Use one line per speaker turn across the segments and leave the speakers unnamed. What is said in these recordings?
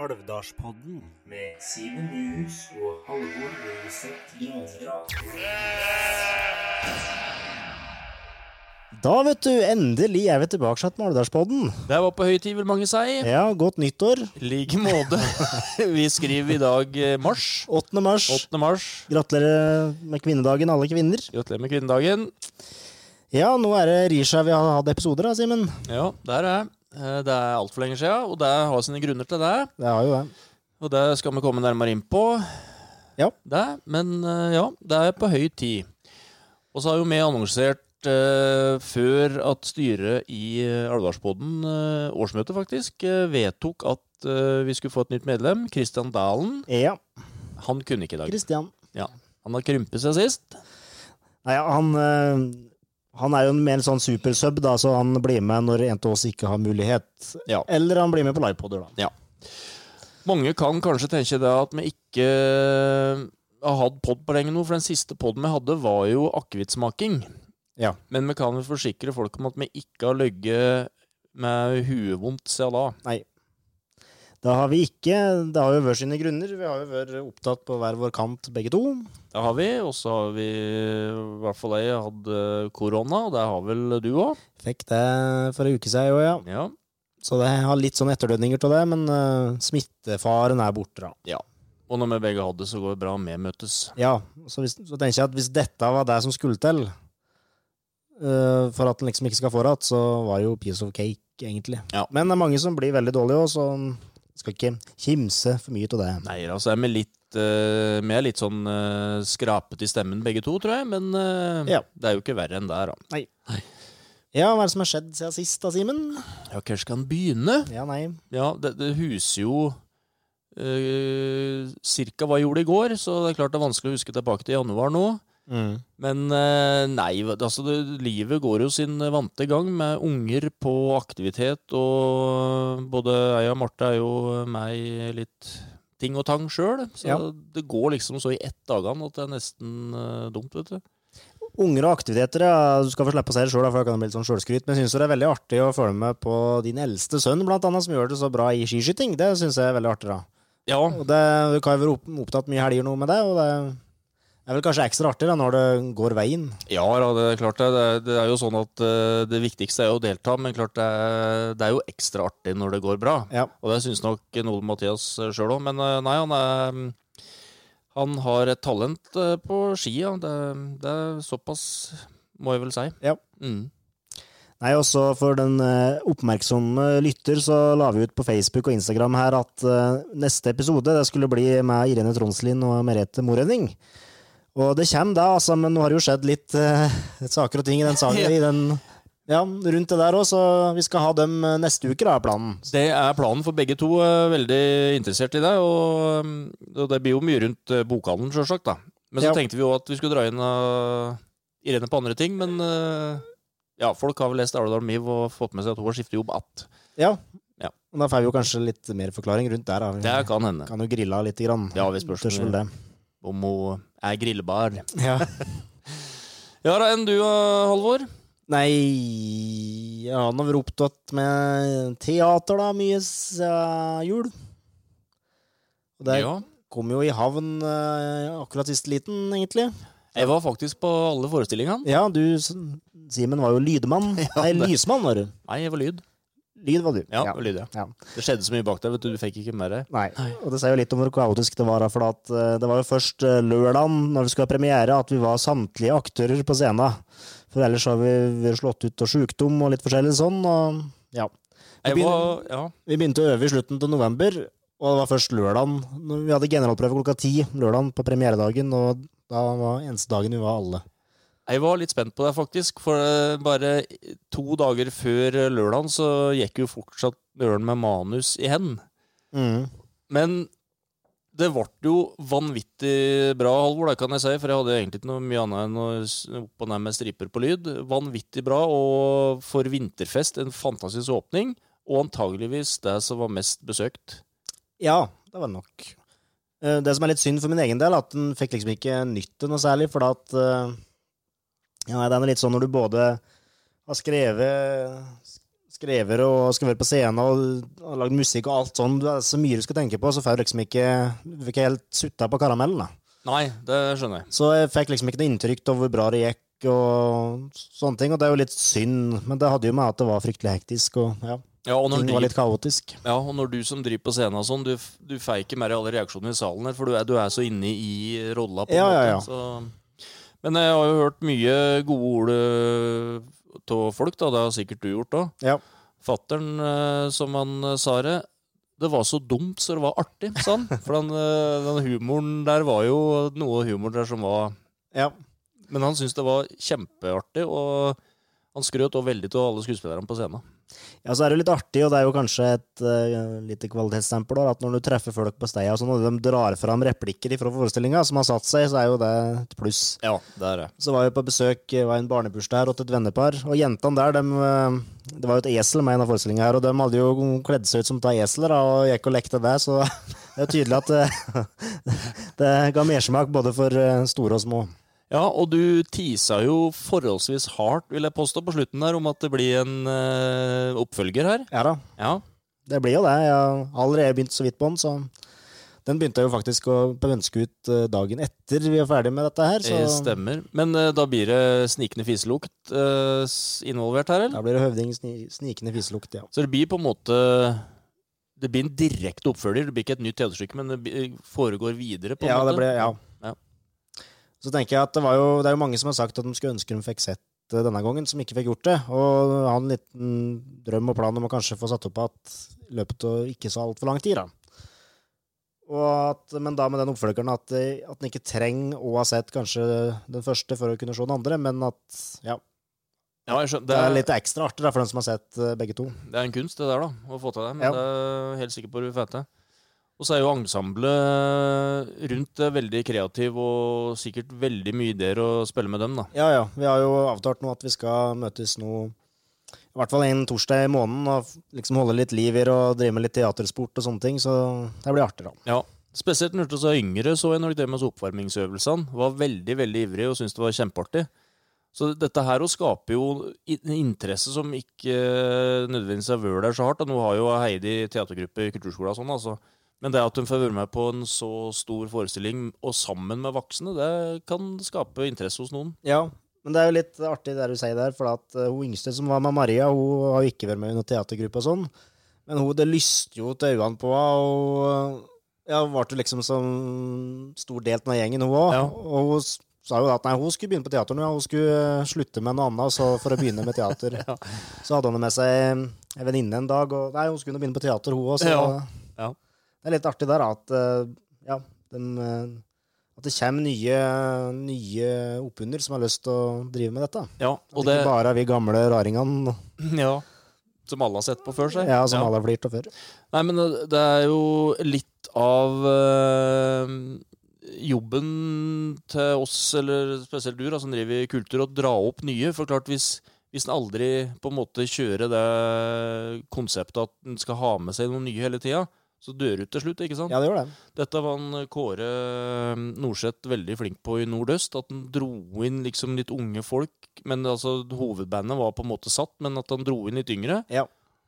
Garasjepodden.
med Simen Nyhus og Halvor Løseth Grandrag.
Da, vet du, endelig er vi tilbake til Maledalspodden.
Det var på høy tid, vil mange si.
Ja, godt nyttår.
I like måte. Vi skriver i dag eh, mars.
8. mars.
8. mars.
Gratulerer med kvinnedagen, alle kvinner.
Gratulerer med kvinnedagen.
Ja, nå er det Risha vi har hatt episoder av, Simen.
Ja, der er jeg. Eh, Det er altfor lenge siden, og det har sine grunner til det.
Det har jo det.
Og det skal vi komme nærmere inn på.
Ja.
Det, men eh, ja, det er på høy tid. Og så har jo vi annonsert eh, før at styret i eh, Alvdalspodden, eh, årsmøtet faktisk, eh, vedtok at eh, vi skulle få et nytt medlem. Kristian Dalen.
Ja,
Han kunne ikke i dag.
Kristian.
Ja. Han har krympet seg sist.
Nei, ja, han, eh, han er jo en mer sånn supersub, da, så han blir med når en av oss ikke har mulighet.
Ja.
Eller han blir med på livepoder, da.
Mange kan kanskje tenke det at vi ikke eh, har hatt pod på lenge nå, for den siste poden vi hadde, var jo akevittsmaking.
Ja.
Men vi kan vel forsikre folk om at vi ikke har ligget med huet vondt siden da.
Det har vi ikke. Det har jo vært sine grunner. Vi har jo vært opptatt på hver vår kant, begge to.
Det har vi, og så har vi, i hvert fall jeg, hatt eh, korona, og det har vel du òg.
Fikk det for ei uke siden, jo, ja.
Ja.
Så det har litt sånn etterdønninger til det, men eh, smittefaren er borte, da.
Og når vi begge hadde det, så går det bra. Vi møtes.
Ja, så, hvis, så tenker jeg at hvis dette var det som skulle til, eh, for at den liksom ikke skal få rett, så var det jo piece of cake, egentlig.
Ja.
Men det er mange som blir veldig dårlige òg, så en skal ikke kimse for mye av det.
Nei, altså er vi litt eh, Vi er litt sånn eh, skrapet i stemmen begge to, tror jeg, men eh,
Ja.
det er jo ikke verre enn det er, da.
Ja, hva er det som har skjedd siden sist, da, Simen?
Ja, hvor skal en begynne?
Ja, nei.
Ja, det, det huser jo eh, cirka hva jeg gjorde i går, så det er klart det er vanskelig å huske tilbake til januar nå. Men eh, nei, hva- altså det, livet går jo sin vante gang med unger på aktivitet, og både jeg og Marte er jo meg litt ting og tang sjøl. Så
Ja.
det går liksom så i ett dagene at det er nesten eh, dumt, vet du.
Unger og aktiviteter, ja. Du skal få slippe å si det sjøl, for da kan det bli litt sånn sjølskryt. Men jeg syns det er veldig artig å følge med på din eldste sønn, blant annet, som gjør det så bra i skiskyting. Det syns jeg er veldig artig, da.
Ja,
Og det, du kan jo være opp- opptatt mye helger nå med det, og det er vel kanskje ekstra artig da, når det går veien.
Ja, da, det er klart det. Det er, det er jo sånn at eh, det viktigste er jo å delta, men klart det er, det er jo ekstra artig når det går bra.
Ja.
Og det syns nok Nole Mathias sjøl òg, men eh, nei, han er Han har et talent eh, på skia. Det, det er såpass, må jeg vel si.
Ja.
Mm.
Nei, også for den eh, oppmerksomme lytter så la vi ut på Facebook og Instagram her at eh, neste episode det skulle bli med Irene Tronslin og Merete Morenning. Og det kommer da, altså, men nå har det jo skjedd litt eh, saker og ting i den saken, i den, ja, rundt det der òg, så vi skal ha dem eh, neste uke, da, er planen.
Det er planen for begge to. eh, Veldig interessert i det. Og, mm, og det blir jo mye rundt eh, bokhandelen, sjølsagt. da. Men
Ja.
så tenkte vi jo at vi skulle dra inn eh, Irene på andre ting, men eh, ja, folk har vel lest Aurdal Miv og fått med seg at hun har skiftet jobb att.
Ja.
Ja.
Og da får vi jo kanskje litt mer forklaring rundt der. Da. Vi
Det kan hende.
kan jo grilla lite grann.
Ja, vi spørs
Tørs vel det.
om hun er grillbar.
Ja.
Ja da, enn du, eh, Halvor?
Nei ja, Han har vært opptatt med teater, da, mye siden jul. Og det
Ja.
kom jo i havn eh, akkurat sist liten, egentlig.
Jeg var faktisk på alle forestillingene.
Ja, du, S- Simen, var jo lydmann. Nei, lysmann, var du.
Nei, jeg var lyd.
Lyd var du.
Ja, jeg var lyd, ja.
Ja.
Det skjedde så mye bak der, vet du. Du fikk ikke med deg.
Nei. Og det sier jo litt om hvor kaotisk det var, da, for at, eh, det var jo først eh, lørdagen, når vi skulle ha premiere, at vi var samtlige aktører på scenen. For ellers har vi vært slått ut av sjukdom og litt forskjellig sånn, og ja. Vi
Jeg var, ja.
Vi begynte å øve i slutten til november, og det var først lørdagen. når Vi hadde generalprøve klokka ti lørdagen på premieredagen, og da var eneste dagen vi var alle.
Jeg var litt spent på deg, faktisk. For eh, bare to dager før eh, lørdagen så gikk jo fortsatt Ørn med manus i hen. Men det ble jo vanvittig bra, Halvor, det kan jeg si. For jeg hadde egentlig ikke noe mye annet enn å s- opp og ned med striper på lyd. Vanvittig bra, og for vinterfest en fantastisk åpning. Og antageligvis det som var mest besøkt.
Ja, det var nok. Eh, Det som er litt synd for min egen del, at den fikk liksom ikke nytte noe særlig, for at eh, ja, nei, det er noe litt sånn når du både har skrevet skrevet og skal være på scenen og, og lagd musikk og alt sånn. Det er så mye du skal tenke på, så får du liksom ikke, du får ikke helt sutta på karamellen. da.
Nei, det skjønner jeg.
Så jeg fikk liksom ikke noe inntrykk av hvor bra det gikk og sånne ting, og det er jo litt synd, men det hadde jo med at det var fryktelig hektisk og ja,
Ja, og når
ting
de-
var litt kaotisk.
Ja, og når du som driver på scenen og sånn, du, f- du får ikke mer alle reaksjonene i salen her, for du er, du er så inne i rolla på en
Ja,
måte.
ja, ja.
Så. Men jeg har jo hørt mye gode ord av folk, da. Det har sikkert du gjort òg.
Ja.
Fattern, eh, som han eh, sa det, det var så dumt så det var artig, sa han. For den, eh, den humoren der var jo noe humor der som var
ja.
Men han syntes det var kjempeartig, og han skrøt òg veldig til alle skuespillerne på scenen.
Ja, så er det jo litt artig, og det er jo kanskje et eh, lite kvalitetsstempel da, at når du treffer folk på steia og sånn, og de drar fram replikker fra forestillinga som har satt seg, så er jo det et pluss.
Ja, det er det.
Så var jeg på besøk, eh, var en barnebursdag her, og et vennepar, og jentene der, dem, eh, det var jo et esel med i en av forestillingene her, og de hadde jo kledd seg ut som ta esler, da, og gikk og lekte det, så det er tydelig at eh, det ga mersmak både for eh, store og små.
Ja, og du tisa jo forholdsvis hardt, vil jeg påstå, på slutten der, om at det blir en eh, oppfølger her.
Ja da,
Ja.
det blir jo det. Jeg har allerede begynt så vidt på den, så den begynte jeg jo faktisk å pønske ut eh, dagen etter vi var ferdig med dette her,
Det
så
stemmer. Men eh, da blir det snikende fiselukt eh, s- involvert her, eller?
da blir det høvding sni- snikende fiselukt, ja.
Så det blir på en måte Det blir en direkte oppfølger. Det blir ikke et nytt TV-stykke, men det bi- foregår videre, på en
Ja, det
måte.
ble, ja.
Ja.
Så tenker jeg at det, var jo, det er jo mange som har sagt at de skulle ønske de fikk sett det denne gangen, som ikke fikk gjort det. Og jeg har en liten drøm og plan om å kanskje få satt opp at i løpet av ikke så altfor lang tid, da. Og at, men da med den oppfølgeren at, eh, at en ikke trenger å ha sett kanskje den første for å kunne se den andre, men at ja,
Ja, jeg skjønner.
det er litt ekstra artig da, for den som har sett eh, begge to.
Det er en kunst, det der, da. Å få til det. Men
Ja.
det er jeg helt sikker på du får til. Og så er jo ensemblet rundt det veldig kreativ og sikkert veldig mye ideer å spille med dem, da.
Ja, ja. Vi har jo avtalt nå at vi skal møtes nå i hvert fall en torsdag i måneden og liksom holde litt liv i det og drive med litt teatersport og sånne ting, så det blir artig, da.
Ja, spesielt når du var yngre, så jeg nok det med oppvarmingsøvelsene. Var veldig, veldig ivrig og syntes det var kjempeartig. Så dette her å skape jo i- en interesse som ikke eh, nødvendigvis har vært der så hardt. Og nå har jo Heidi teatergruppe i kulturskolen og sånn, altså. Men det at hun får være med på en så stor forestilling, og sammen med voksne, det kan skape interesse hos noen.
Ja. Men det er jo litt artig det du sier der, for at eh, hun yngste som var med Maria, hun har jo ikke vært med i noen teatergruppe og sånn, men hun, det lyste jo til øynene på henne, og eh, ja, hun ble jo liksom som stor del av den gjengen, hun òg.
Ja.
Og hun s- sa jo at nei, hun skulle begynne på teater nå, ja. hun skulle eh, slutte med noe annet så for å begynne med teater. Så hadde hun med seg en venninne en dag, og nei, hun skulle nå begynne på teater, hun òg, så
Ja, ja.
det er litt artig der da, at eh, ja, den, eh, at det kommer nye, nye oppunder som har lyst til å drive med dette.
Ja,
At
og det,
ikke bare er vi gamle raringene
ja, som alle har sett på før seg.
ja, som alle har flirt av før.
Nei, men det det er jo litt av eh, jobben til oss, eller spesielt du, da, som driver i kultur, å dra opp nye. For klart, hvis, hvis en aldri på en måte kjører det konseptet at en skal ha med seg noe nye hele tida, så dør ut til slutt, ikke sant?
Ja, det gjør det.
Dette var en eh, Kåre eh, Norseth veldig flink på i Nordøst, at han dro inn liksom litt unge folk, men altså hovedbandet var på en måte satt, men at han dro inn litt yngre.
Ja.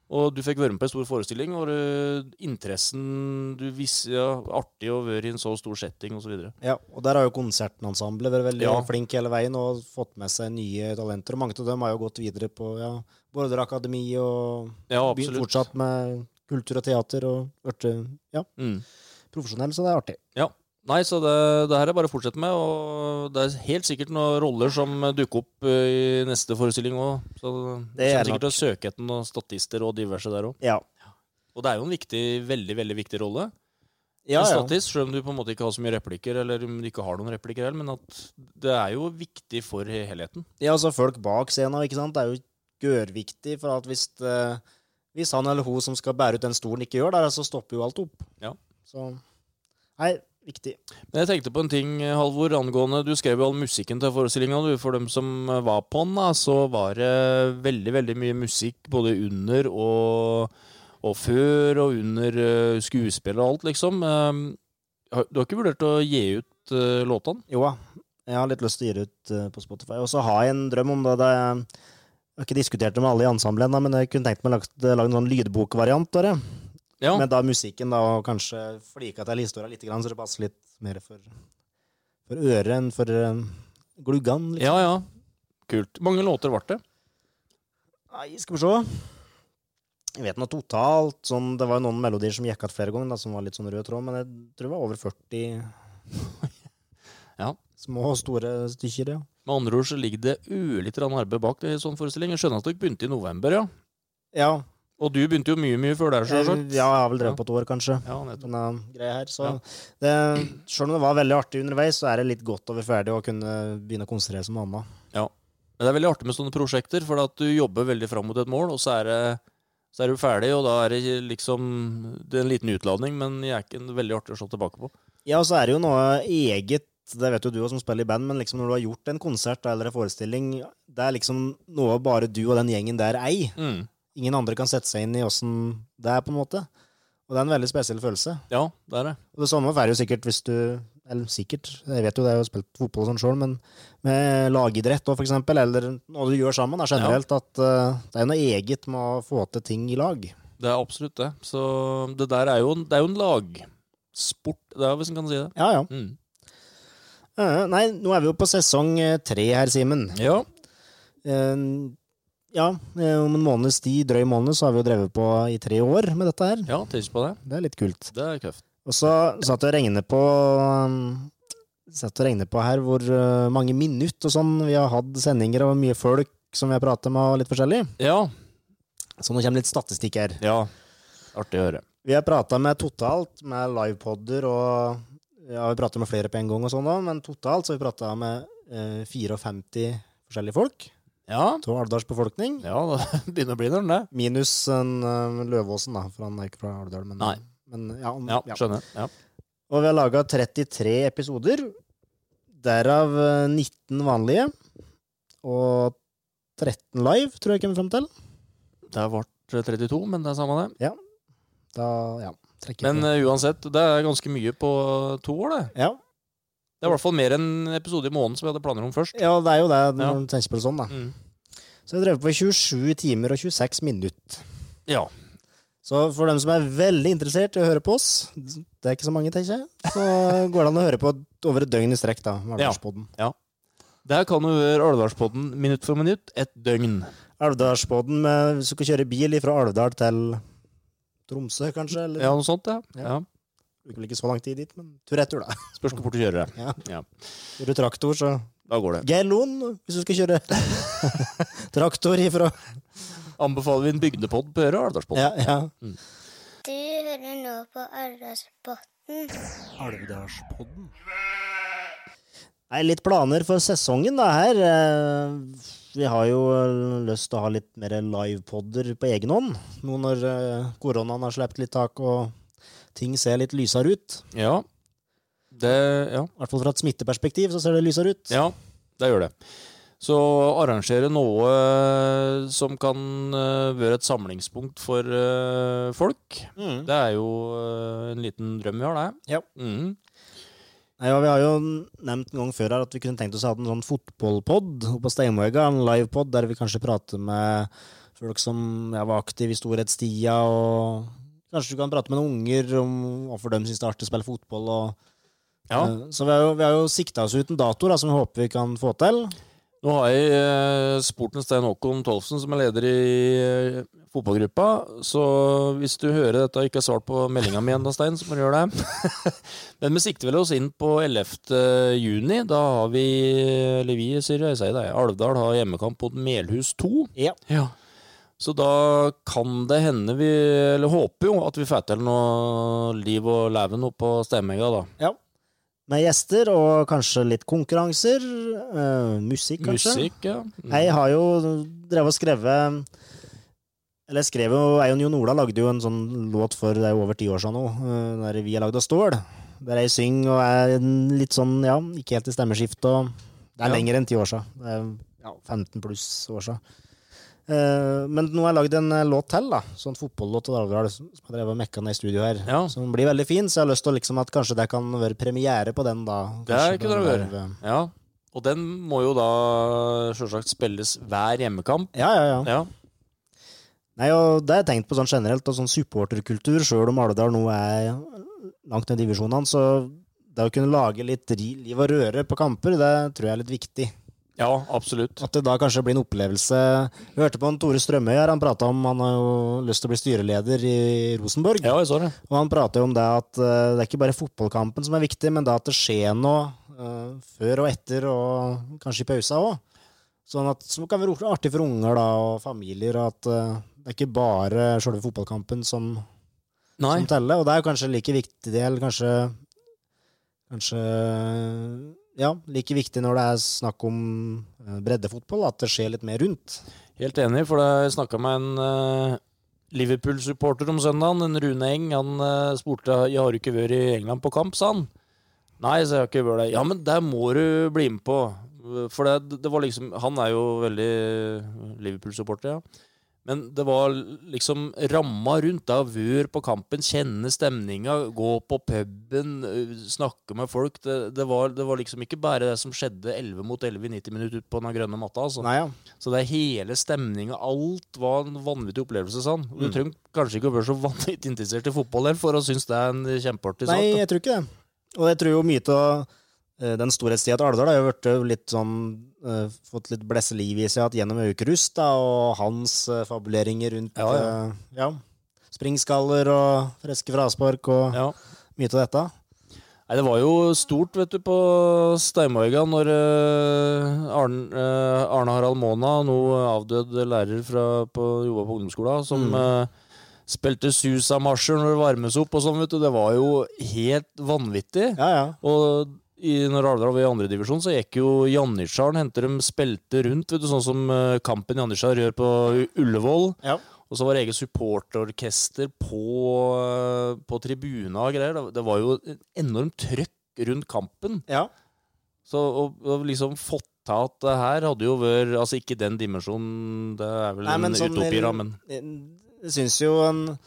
Og du fikk være med på en stor forestilling, og du, interessen du visste ja, artig å være i en så stor setting og så videre.
Ja, og der har jo konsertensemblet vært veldig
Ja.
flink hele veien og fått med seg nye talenter. Og mange av dem har jo gått videre på ja, Border Akademi og
Ja,
begynt
absolutt.
fortsatt med kultur og teater og vært ja,
Mm.
profesjonell, så det er artig.
Nei, så det, det her er bare å fortsette med, og det er helt sikkert noen roller som dukker opp eh, i neste forestilling òg. Så du
Det er
kommer sikkert til å søke etter noen statister og diverse der òg.
Ja,
Og det er jo en viktig, veldig, veldig viktig rolle.
ja,
En
ja.
statist, selv om du på en måte ikke har så mye replikker, eller om du ikke har noen replikker heller, men at det er jo viktig for helheten.
Ja, altså folk bak scenen, ikke sant, det er jo gørviktig, for at hvis, eh, hvis han eller hun som skal bære ut den stolen ikke gjør det, altså, så stopper jo alt opp.
Ja.
Så, nei, viktig.
Men jeg tenkte på en ting, Halvor, angående Du skrev jo all musikken til forestillinga, du. For dem som eh, var på den, da, så var det veldig, veldig mye musikk både under og, og før, og under eh, skuespill og alt, liksom. Eh, har- Du har ikke vurdert å gi ut eh, låtene?
Jo, da. jeg har litt lyst til å gi det ut eh, på Spotify. Og så har jeg en drøm om det. det Jeg har ikke diskutert det med alle i ensemblet ennå, men jeg kunne tenkt meg å lage, en sånn lydbokvariant. Bare.
Ja,
Med da musikken, da, og kanskje flika til historia litt, så det passer litt mer for, for øret enn for eh, gluggene. Liksom.
ja. ja. Kult. Mange låter ble det.
Nei, skal vi se. Jeg vet noe totalt, sånn, Det var jo noen melodier som gikk igjen flere ganger, da, som var litt sånn rød tråd, men jeg tror det var over 40
Ja.
små og store stykker. Ja.
Med andre ord så ligger det ørlite grann arbeid bak det i sånn forestilling. Jeg skjønner at dere begynte i november, ja.
ja.
Og du begynte jo mye, mye før der,
Jeg,
sjølsagt.
ja, jeg har vel drevet på et år, kanskje.
ja, nettopp.
denne greia her. Så
Ja.
det, selv om det var veldig artig underveis, så er det litt godt over ferdig å kunne begynne å konsentrere seg om annet.
Men det er veldig artig med sånne prosjekter, for at du jobber veldig fram mot et mål, og så er, det, så er du ferdig, og da er det liksom Det er en liten utladning, men jeg er ikke en veldig artig å slå tilbake på.
Ja, og så er det jo noe eget, det vet jo du også som spiller i band, men liksom når du har gjort en konsert eller en forestilling, det er liksom noe bare du og den gjengen der ei.
Mm.
Ingen andre kan sette seg inn i åssen det er, på en måte. Og det er en veldig spesiell følelse.
Ja, det er det.
Og det samme er jo sikkert hvis du Eller sikkert, jeg vet jo det, jeg har jo spilt fotball og sånn sjøl, men med lagidrett og for eksempel, eller noe du gjør sammen, er generelt at eh, det er noe eget med å få til ting i lag.
Det er absolutt det. Så det der er jo en, det er jo en lagsport, det er, hvis en kan si det.
Ja, ja.
Mm.
Eh, nei, nå er vi jo på sesong eh, tre her, Simen.
Ja.
Eh, ja, eh, om en måneds tid, drøy måned, så har vi jo drevet på i tre år med dette her.
ja, tenk på det.
Det er litt kult.
Det er tøft.
Og så satt jeg og regnet på um, Satt og regnet på her hvor uh, mange minutt og sånn vi har hatt sendinger og mye folk som vi har pratet med og litt forskjellig.
Ja.
Så nå kommer litt statistikk her.
ja. Artig å høre.
Vi har pratet med totalt med livepodder og ja, vi prater med flere på en gang og sånn da, men totalt så har vi pratet med eh, 54 forskjellige folk.
Ja.
Av Alvdals befolkning.
Ja, det begynner å bli når den det.
Minus en eh, Løvåsen da, for han er ikke fra Alvdal, men,
Nei.
men ja, om,
Ja,
ja.
skjønner. Ja.
Og vi har laga 33 episoder, derav eh, 19 vanlige. Og 13 live, tror jeg kommer fram til.
Det ble 32, men det er samme det.
Da, ja, trekker
Men
jeg på.
eh, uansett, det er ganske mye på to år, det.
ja.
Det er i hvert fall mer enn episode i måneden som vi hadde planer om først.
ja, det er jo det
Ja.
når du tenker på det sånn, da.
Mm.
Så jeg har drevet på i 27 timer og 26 minutter.
Ja.
Så for dem som er veldig interessert i å høre på oss, det er ikke så mange, tenker jeg, så går det an å høre på over et døgn i strekk, da. med
Ja.
Alvdalspodden.
Der kan du høre Alvdalspodden minutt for minutt, et døgn.
Alvdalspodden med hvis du skal kjøre bil fra Alvdal til Tromsø, kanskje? Eller?
Ja, noe sånt, ja. ja.
Ja. Det blir ikke så lang tid dit, men tur-retur, da.
Spørs hvor fort du kjører.
Ja.
Ja.
Kjører du traktor, så
Da går det.
Geir Loen, hvis du skal kjøre traktor ifra
Anbefaler vi en bygdepod på Øre Alvdalspodden.
Ja, ja.
Du hører nå på Arendalsbotn.
Alvdalspodden.
Nei, litt planer for sesongen, da, her. Eh, Vi har jo eh, lyst til å ha litt mer livepodder på egen hånd. Nå når eh, koronaen har sluppet litt tak, og ting ser litt lysere ut.
Ja. Det Ja.
I hvert fall fra et smitteperspektiv så ser det lysere ut.
Ja, det gjør det. Så arrangere noe som kan eh, være et samlingspunkt for eh, folk.
Mm.
Det er jo eh, en liten drøm vi har, det.
Ja.
Mm.
Nei, ja, vi har jo nevnt en gang før her at vi kunne tenkt oss å ha en sånn fotballpod på Steinmøyga, en livepod der vi kanskje prater med folk som ja, var aktive i storhetstida, og kanskje du kan prate med noen unger om hvorfor de syns det er artig å spille fotball. Og,
ja.
Eh, Så vi har jo, vi har jo sikta oss ut en dato da, som vi håper vi kan få til.
Nå har jeg eh, spurt en Stein Håkon Tolfsen, som er leder i eh, fotballgruppa. Så hvis du hører dette og ikke har svart på meldinga mi ennå, Stein, så må du gjøre det. Men vi sikter vel oss inn på 11. juni. Da har vi, eh, eller vi, sier jeg, jeg sier det, Alvdal har hjemmekamp mot Melhus 2.
Ja.
Så da kan det hende vi, eller håper jo, at vi får til noe liv og leven oppe på Stemmega, da.
Med gjester og kanskje litt konkurranser. eh, musikk, kanskje.
Musikk, ja. Mm.
Jeg har jo drevet og skrevet Eller jeg skrev jo Eion Jon Ola lagde jo en sånn låt for det er jo over ti år siden nå, eh, der vi er lagd av stål. Der jeg synger og er en litt sånn, ja, ikke helt i stemmeskift og Det er
Ja.
lenger enn ti år siden. Det er ja, 15 pluss år siden. Eh, men nå har jeg lagd en eh, låt til, da. Sånn fotballåt og Dalvdal som jeg drev og mekka ned i studio her.
Ja.
Som blir veldig fin, så jeg har lyst til å liksom at kanskje det kan være premiere på den, da.
Det
Kanskje
kunne det
være-
Ja, Og den må jo da sjølsagt spilles hver hjemmekamp.
Ja, ja, ja.
Ja.
Nei, og det har jeg tenkt på sånn generelt, og sånn supporterkultur, sjøl om Alvdal nå er langt ned i divisjonene, så det å kunne lage litt ri- liv og røre på kamper, det tror jeg er litt viktig.
ja, absolutt.
At det da kanskje blir en opplevelse Jeg hørte på han Tore Strømøy her, han prata om han har jo lyst til å bli styreleder i Rosenborg.
Ja, jeg så det.
Og han prater jo om det at eh, det er ikke bare fotballkampen som er viktig, men det at det skjer noe eh, før og etter, og kanskje i pausa òg. Sånn at som kan være artig for unger da, og familier, og at eh, det er ikke bare sjølve fotballkampen som,
Nei.
som teller. Og det er jo kanskje like viktig del, kanskje Kanskje Ja, like viktig når det er snakk om eh, breddefotball, at det skjer litt mer rundt.
Helt enig, for jeg snakka med en eh, Liverpool-supporter om søndagen, en Rune Eng. Han eh, spurte jeg har du ikke vært i England på kamp, sa han. Nei, så jeg har ikke vært der. Ja, men der må du bli med på. For det, det var liksom Han er jo veldig Liverpool-supporter, ja. Men det var liksom ramma rundt. Da vør på kampen, kjenne stemninga, gå på puben, eh, snakke med folk. Det, det, var, det var liksom ikke bare det som skjedde 11 mot 11 i 90 minutter ute på den grønne matta. Altså.
Nei, ja.
Så det er hele stemninga, alt var en vanvittig opplevelse. Sånn. Du
Mm.
trenger kanskje ikke å være så vanvittig interessert i fotball heller for å synes det er en kjempeartig sak.
Nei,
da.
jeg tror ikke det. Og jeg tror jo mye av eh, den storhetstida til Alvdal har jo vært eh, litt sånn eh, Fått litt blesse liv i seg at gjennom Aukrust da, og hans eh, fabuleringer rundt
Ja, ja.
eh, ja, springskaller og friske fraspark og
Ja.
mye av dette.
Nei, det var jo stort, vet du, på Steinmarga når eh, Arne, eh, Arne Harald Måna, nå avdød lærer fra, på Joa på ungdomsskolen, som
Mm.
eh, spilte Susa-marsjer når det varmes opp og sånn, vet du. Det var jo helt vanvittig.
Ja, ja.
Og i, når Alvdal var i andredivisjon, så gikk jo Janitsjaren Hentet dem spilte rundt, vet du, sånn som eh, kampen Janitsjar gjør på U- Ullevål.
Ja,
Og så var det eget supporterorkester på, eh, på tribuna og greier. Det- Det var jo en enormt trøkk rundt kampen.
ja.
Så å å liksom fått til at det her hadde jo vært Altså ikke den dimensjonen, det er vel
Nei, men
en
sånn-
utopi, da, men
Jeg syns jo en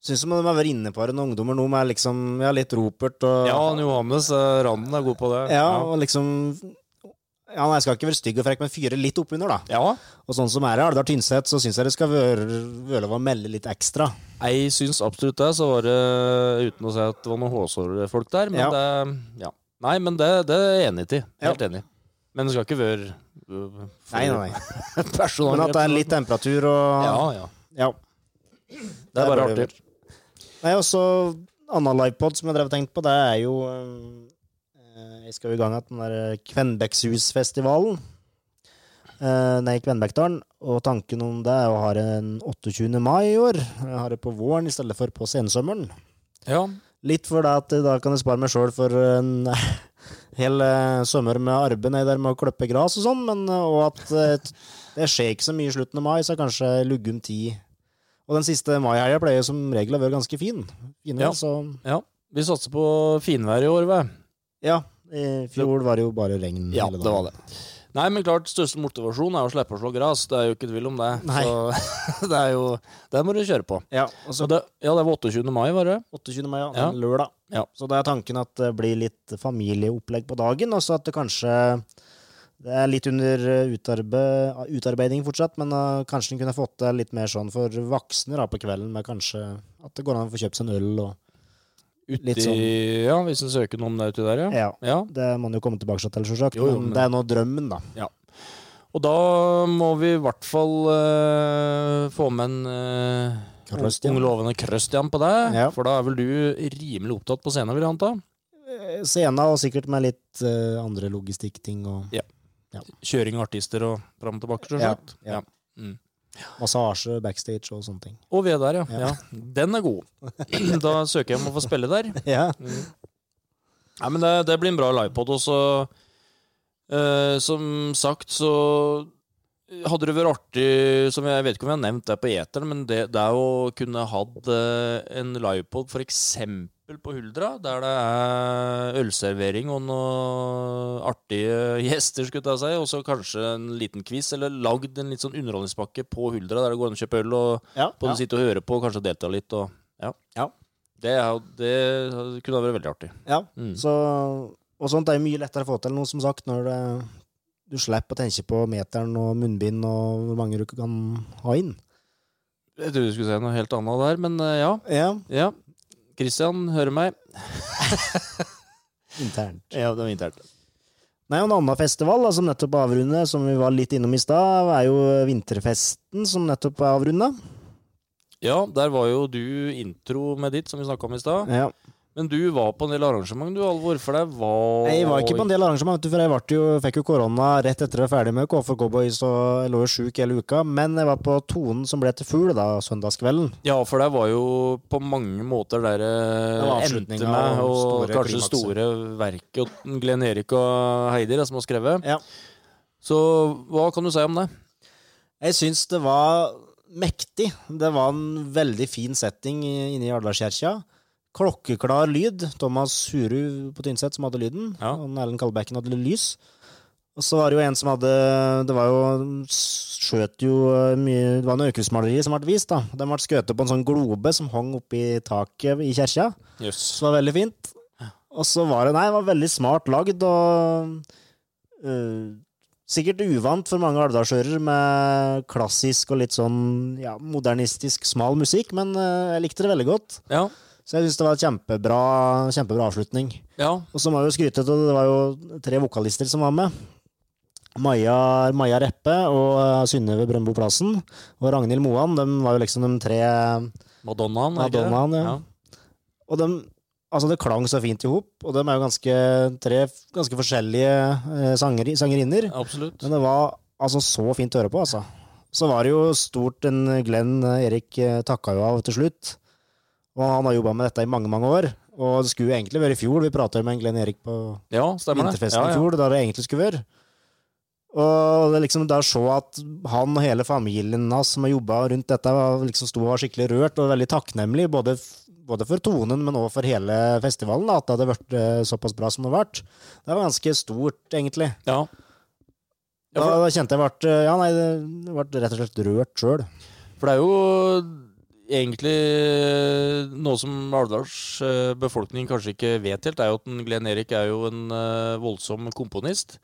Syns man har vært inne på det, noen ungdommer nå med liksom Ja, litt Ropert og
Ja, han Johannes eh, Randen er god på det.
ja, og liksom ja, nei, Jeg skal ikke være stygg og frekk, men fyre litt oppunder, da.
ja.
Og sånn som er i Alvdal Tynset, så syns jeg det skal være Vølova melde litt ekstra.
Jeg syns absolutt det, så var det uten å si at det var noen hårsåre folk der. Men
Ja.
det ja. Nei, men det, det er jeg enig til. Helt enig. Men det skal ikke være øh, for
Nei, nei, nei.
personangrep.
Men at det er litt temperatur og
Ja, ja.
ja.
Det er bare
bør det
artig.
Nei, også annen livepod som jeg drev og tenkte på, det er jo eh, Jeg skal jo i gang igjen den der Kvenbekkshusfestivalen. Uh, nei, Kvenbekkdalen. Og tanken om det er å ha en 28. mai i år. Jeg har det på våren i stedet for på sensommeren.
Ja.
Litt for det at eh, da kan jeg spare meg sjøl for eh, en hel eh, sommer med arbeid nedi der med å klippe gress og sånn, men eh, og at eh, det skjer ikke så mye i slutten av mai, så er kanskje luggen tid. Og den siste maihelga pleier som regel å være ganske fin. Fine,
Ja.
Så
ja. Vi satser på finvær i år, hva?
ja, i fjor var det jo bare regn
Ja, det var det. Nei, men klart, største motivasjon er å slippe å slå gress. Det er jo ikke tvil om det.
Nei.
Så det er jo Det må du kjøre på.
Ja, og så
Og det, ja, det var 28. mai, var det?
28. mai, ja.
Ja.
den Lørdag.
Ja.
Så det er tanken at det blir litt familieopplegg på dagen, og så at det kanskje Det er litt under eh, utarbe, utarbeiding fortsatt, men eh, kanskje en kunne fått det litt mer sånn for voksne da på kvelden, med kanskje at det går an å få kjøpt seg en øl og
Uti,
Litt sånn.
Ja, hvis en søker noe om det uti der, ja.
Ja.
ja.
Det må en jo komme tilbake til, selvsagt,
Jo, jo,
men
men-
det er nå drømmen, da.
Og da må vi i hvert fall eh, få med en uh,
Krøst igjen.
ung lovende krøst igjen på deg.
Ja.
For da er vel du rimelig opptatt på scenen, vil jeg anta.
Eh, Sena og sikkert med litt eh, andre logistikkting og
Kjøring av artister og fram og tilbake, selvsagt.
Ja, ja. massasje backstage og sånne ting.
Og vi er der, ja.
Ja.
ja. Den er god. da søker jeg om å få spille der.
Ja,
Nei, men det, det blir en bra livepod. Og så, eh, som sagt, så hadde det vært artig som Jeg vet ikke om jeg har nevnt det på eteren, men det, det er å kunne hatt eh, en livepod f.eks. på Huldra, der det er ølservering og noen artige gjester, skulle jeg til å si, og så kanskje en liten quiz, eller lagd en litt sånn underholdningspakke på Huldra, der det går an å kjøpe øl og
ja,
både
ja.
sitte og høre på og kanskje delta litt. Og, ja.
Ja.
Det, er jo- det kunne vært veldig artig.
Ja,
Mm.
så Og sånt er jo mye lettere å få til nå, som sagt, når det, du slipper å tenke på meteren og munnbind og hvor mange du kan ha inn.
Jeg trodde du skulle si noe helt annet der, men eh, ja.
Ja,
ja. Christian hører meg.
internt. Ja, det var internt. Nei, og En annen festival da, som nettopp er avrundet, som vi var litt innom i stad, er jo vinterfesten som nettopp er avrunda.
Ja, der var jo du intro med ditt, som vi snakka om i stad.
Ja.
Men du var på en del arrangement, du, Alvor, for det var
Jeg var ikke på en del arrangement, vet du, for jeg vart jo, fikk jo korona rett etter jeg var ferdig med KFK Cowboys, og jeg lå jo sjuk hele uka. Men jeg var på Tonen som ble til fugl da, søndagskvelden.
Ja, for det var jo på mange måter der
Det var
det endte
avslutningen
med,
av
og
store
kanskje
klimakset.
store verket og Glenn Erik og Heidi da, som har skrevet.
Ja.
Så hva kan du si om det?
Jeg syns det var mektig. Det var en veldig fin setting inne i Arendalskirka. Klokkeklar lyd. Thomas Huru på Tynset som hadde lyden.
Ja.
Og Erlend Kalbekken hadde lys. Og så var det jo en som hadde Det var jo skjøt jo eh, mye Det var noe økehusmaleri som ble vist, da. Den ble skutt på en sånn globe som hang oppi taket i kirka.
Jøss.
Så det var veldig fint. Og så var det Nei, det var veldig smart lagd og eh, Sikkert uvant for mange alvdalsører med klassisk og litt sånn ja, modernistisk, smal musikk, men eh, jeg likte det veldig godt.
Ja.
Så jeg syns det var et kjempebra, kjempebra avslutning.
ja.
Og så må jeg jo skryte av det var jo tre vokalister som var med. Maja, Maja Reppe og eh, Synnøve Brøndbo Plassen og Ragnhild Moan. De var jo liksom de tre
Madonnaen. er det ikke det?
Madonnaen, ja. Og de, altså det klang så fint i hop, og de er jo ganske, tre ganske forskjellige eh, sanger, sangerinner.
ja. Absolutt.
Men det var altså så fint å høre på, altså. Så var det jo stort en Glenn eh, Erik eh, takka jo av til slutt. Og han har jobba med dette i mange, mange år. Og det skulle jo egentlig være i fjor, vi prata jo med en Glenn Erik på
Ja, stemmer det.
vinterfesten
Ja,
i
ja.
fjor, da det egentlig skulle være. Og det er liksom da å se at han og hele familien hans som har jobba rundt dette, var- liksom sto og var skikkelig rørt og veldig takknemlig, både, f- både for tonen, men òg for hele festivalen, da, at det hadde vært eh, såpass bra som det har vært. Det var ganske stort, egentlig.
Ja. Ja,
Da,
for-
da kjente jeg vart, eh, Ja, nei, det ble rett og slett rørt sjøl.
For det er jo egentlig noe som Alvdals eh, befolkning kanskje ikke vet helt, er jo at en Glenn Erik er jo en eh, voldsom komponist.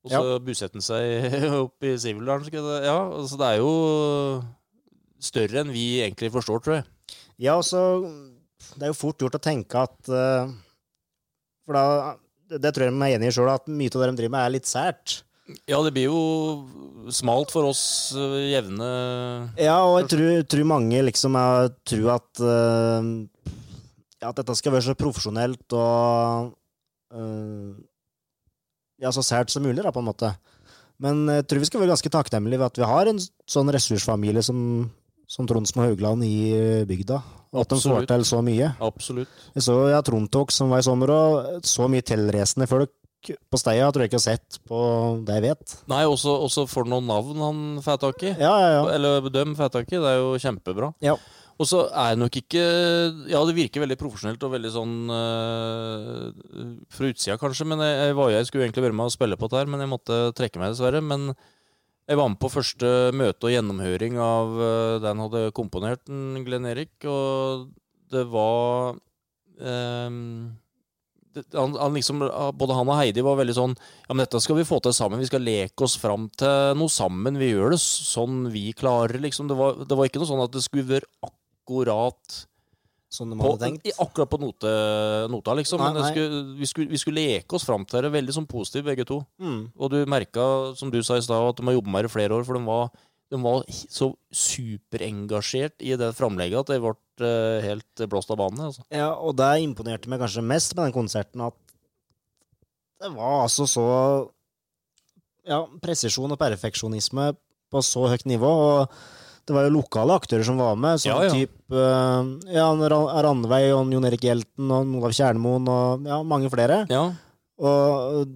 Og så busetter han seg opp i Sivildalen. skal jeg- Ja, altså det er jo større enn vi egentlig forstår, tror jeg.
Ja, og så Det er jo fort gjort å tenke at eh, For da det, det tror jeg de er enig i sjøl, at mye av det de driver med, er litt sært.
Ja, det blir jo smalt for oss eh, jevne
Ja, og jeg tror, tror mange liksom er, tror at øh, ja, at dette skal være så profesjonelt og øh, ja, så sært som mulig, da, på en måte. Men jeg tror vi skal være ganske takknemlige ved at vi har en sånn ressursfamilie som, som Tronsmo Haugland i øh, bygda. Og at de
Absolutt.
får til så mye.
Absolutt.
Jeg så ja, Trontalk som var i sommer, og så mye tilreisende folk på steia tror jeg ikke jeg har sett på det jeg vet.
Nei, også, også for noen navn han får tak i.
Ja, ja, ja.
Eller dem får tak i. Det er jo kjempebra.
Ja.
Og så er nok ikke Ja, det virker veldig profesjonelt og veldig sånn øh, Fra utsida, kanskje, men jeg, jeg, var, jeg skulle egentlig være med å spille på dette her, men jeg måtte trekke meg, dessverre. Men jeg var med på første møte og gjennomhøring av øh, det han hadde komponert, den Glenn Erik, og det var ehm, det, han, han liksom, både han og Heidi var veldig sånn Ja, men dette skal vi få til sammen. Vi skal leke oss fram til noe sammen. Vi gjør det sånn vi klarer, liksom. Det var, det var ikke noe sånn at det skulle være akkurat
Sånn de
på,
hadde tenkt.
i- akkurat på note, nota, liksom.
Nei,
Men det
nei.
skulle, vi, skulle, vi skulle leke oss fram til det. Veldig sånn positivt, begge to.
Mm.
Og du merka, som du sa i stad, at de har jobba med det i flere år, for de var, de var hi- så superengasjert i det framlegget at de ble eh, helt blåst av banen. Altså.
Ja, og det imponerte meg kanskje mest med den konserten, at det var altså så Ja, presisjon og perfeksjonisme på så høyt nivå. Og det var jo lokale aktører som var med, sånn
Ja, ja.
type eh, ja, Ra- Randveig og Jon Erik Hjelten og Olav Kjernmoen og ja, mange flere.
Ja,
Og eh,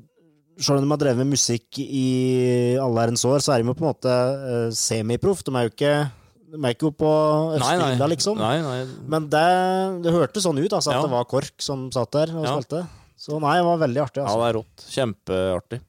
selv om de har drevet med musikk i alle herrens år, så er de jo på en måte eh, semiproff. De er jo ikke, de er ikke på Østbygda, liksom.
Nei, nei.
Men det, det hørtes sånn ut, altså, at
Ja.
det var KORK som satt der og
Ja.
spilte. Så nei, det var veldig artig.
Ja,
Altså.
det er rått. Kjempeartig.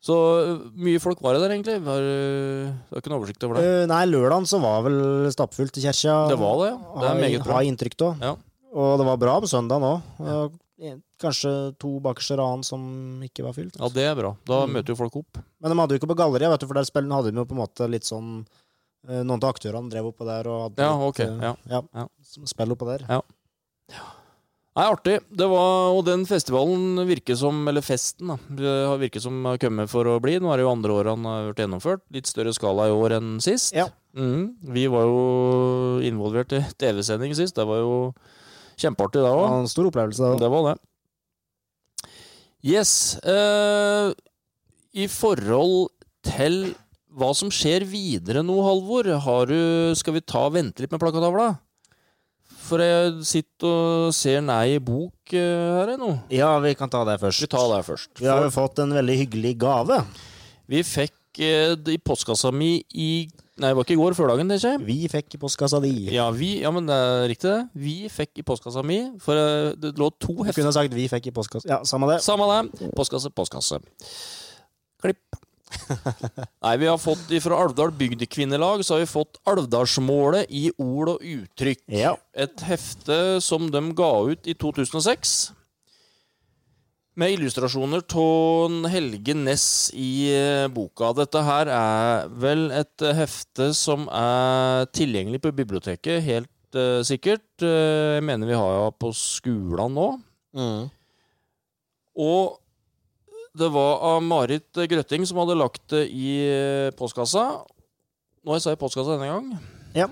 Så ø, mye folk var det der, egentlig. Var, ø, det var ikke noe oversikt over det.
Eh, nei, lørdagen så var vel stappfullt i kirka.
Det var det, ja. Det er meget bra.
Har jeg inntrykk av.
Ja.
Og det var bra på søndagen òg. en- kanskje to bakerste rad som ikke var fylt.
Ja, det er bra. Da
Mm.
møter jo folk opp.
Men de hadde jo ikke på galleriet, vet du, for der spillene hadde de jo på en måte litt sånn eh, Noen av aktørene drev oppå der og hadde
Ja,
litt,
ok.
eh,
Ja.
ja,
ja.
som spill oppå der.
Nei, artig. Det var, og den festivalen virker som, eller festen, da, det har virket som har kommet for å bli. Nå er det jo andre året han har vært gjennomført. Litt større skala i år enn sist.
Ja.
Mhm. Vi var jo involvert i TV-sending sist. Det var jo kjempeartig, det
Det
òg.
var en stor opplevelse. da.
Det var det. Yes. eh, I forhold til hva som skjer videre nå, Halvor, har du, skal vi ta vente litt med plakatavla? For jeg sitter og ser nei i bok eh, her jeg nå.
Ja, vi kan ta det først.
Vi tar det først.
Vi har jo fått en veldig hyggelig gave.
Vi fikk eh, det i postkassa mi i Nei, det var ikke i går, førdagen, tenker jeg.
Vi fikk i postkassa di.
Ja, vi, ja, men det er riktig, det. Vi fikk i postkassa mi, for eh, det lå to
Jeg
hefter
kunne sagt vi fikk i postkassa. Ja, samme det.
Samme det. Postkasse, postkasse. Klipp. Nei, vi har fått fra Alvdal Bygdekvinnelag så har vi fått Alvdalsmålet i ord og uttrykk.
Ja.
Et hefte som de ga ut i 2006. Med illustrasjoner av Helge Ness i eh, boka. Dette her er vel et eh, hefte som er tilgjengelig på biblioteket, helt eh, sikkert. Eh, Jeg mener vi har det på skolen nå. Og det var av Marit Grøtting som hadde lagt det i eh, postkassa. Nå har jeg sagt postkassa denne gang.
Ja.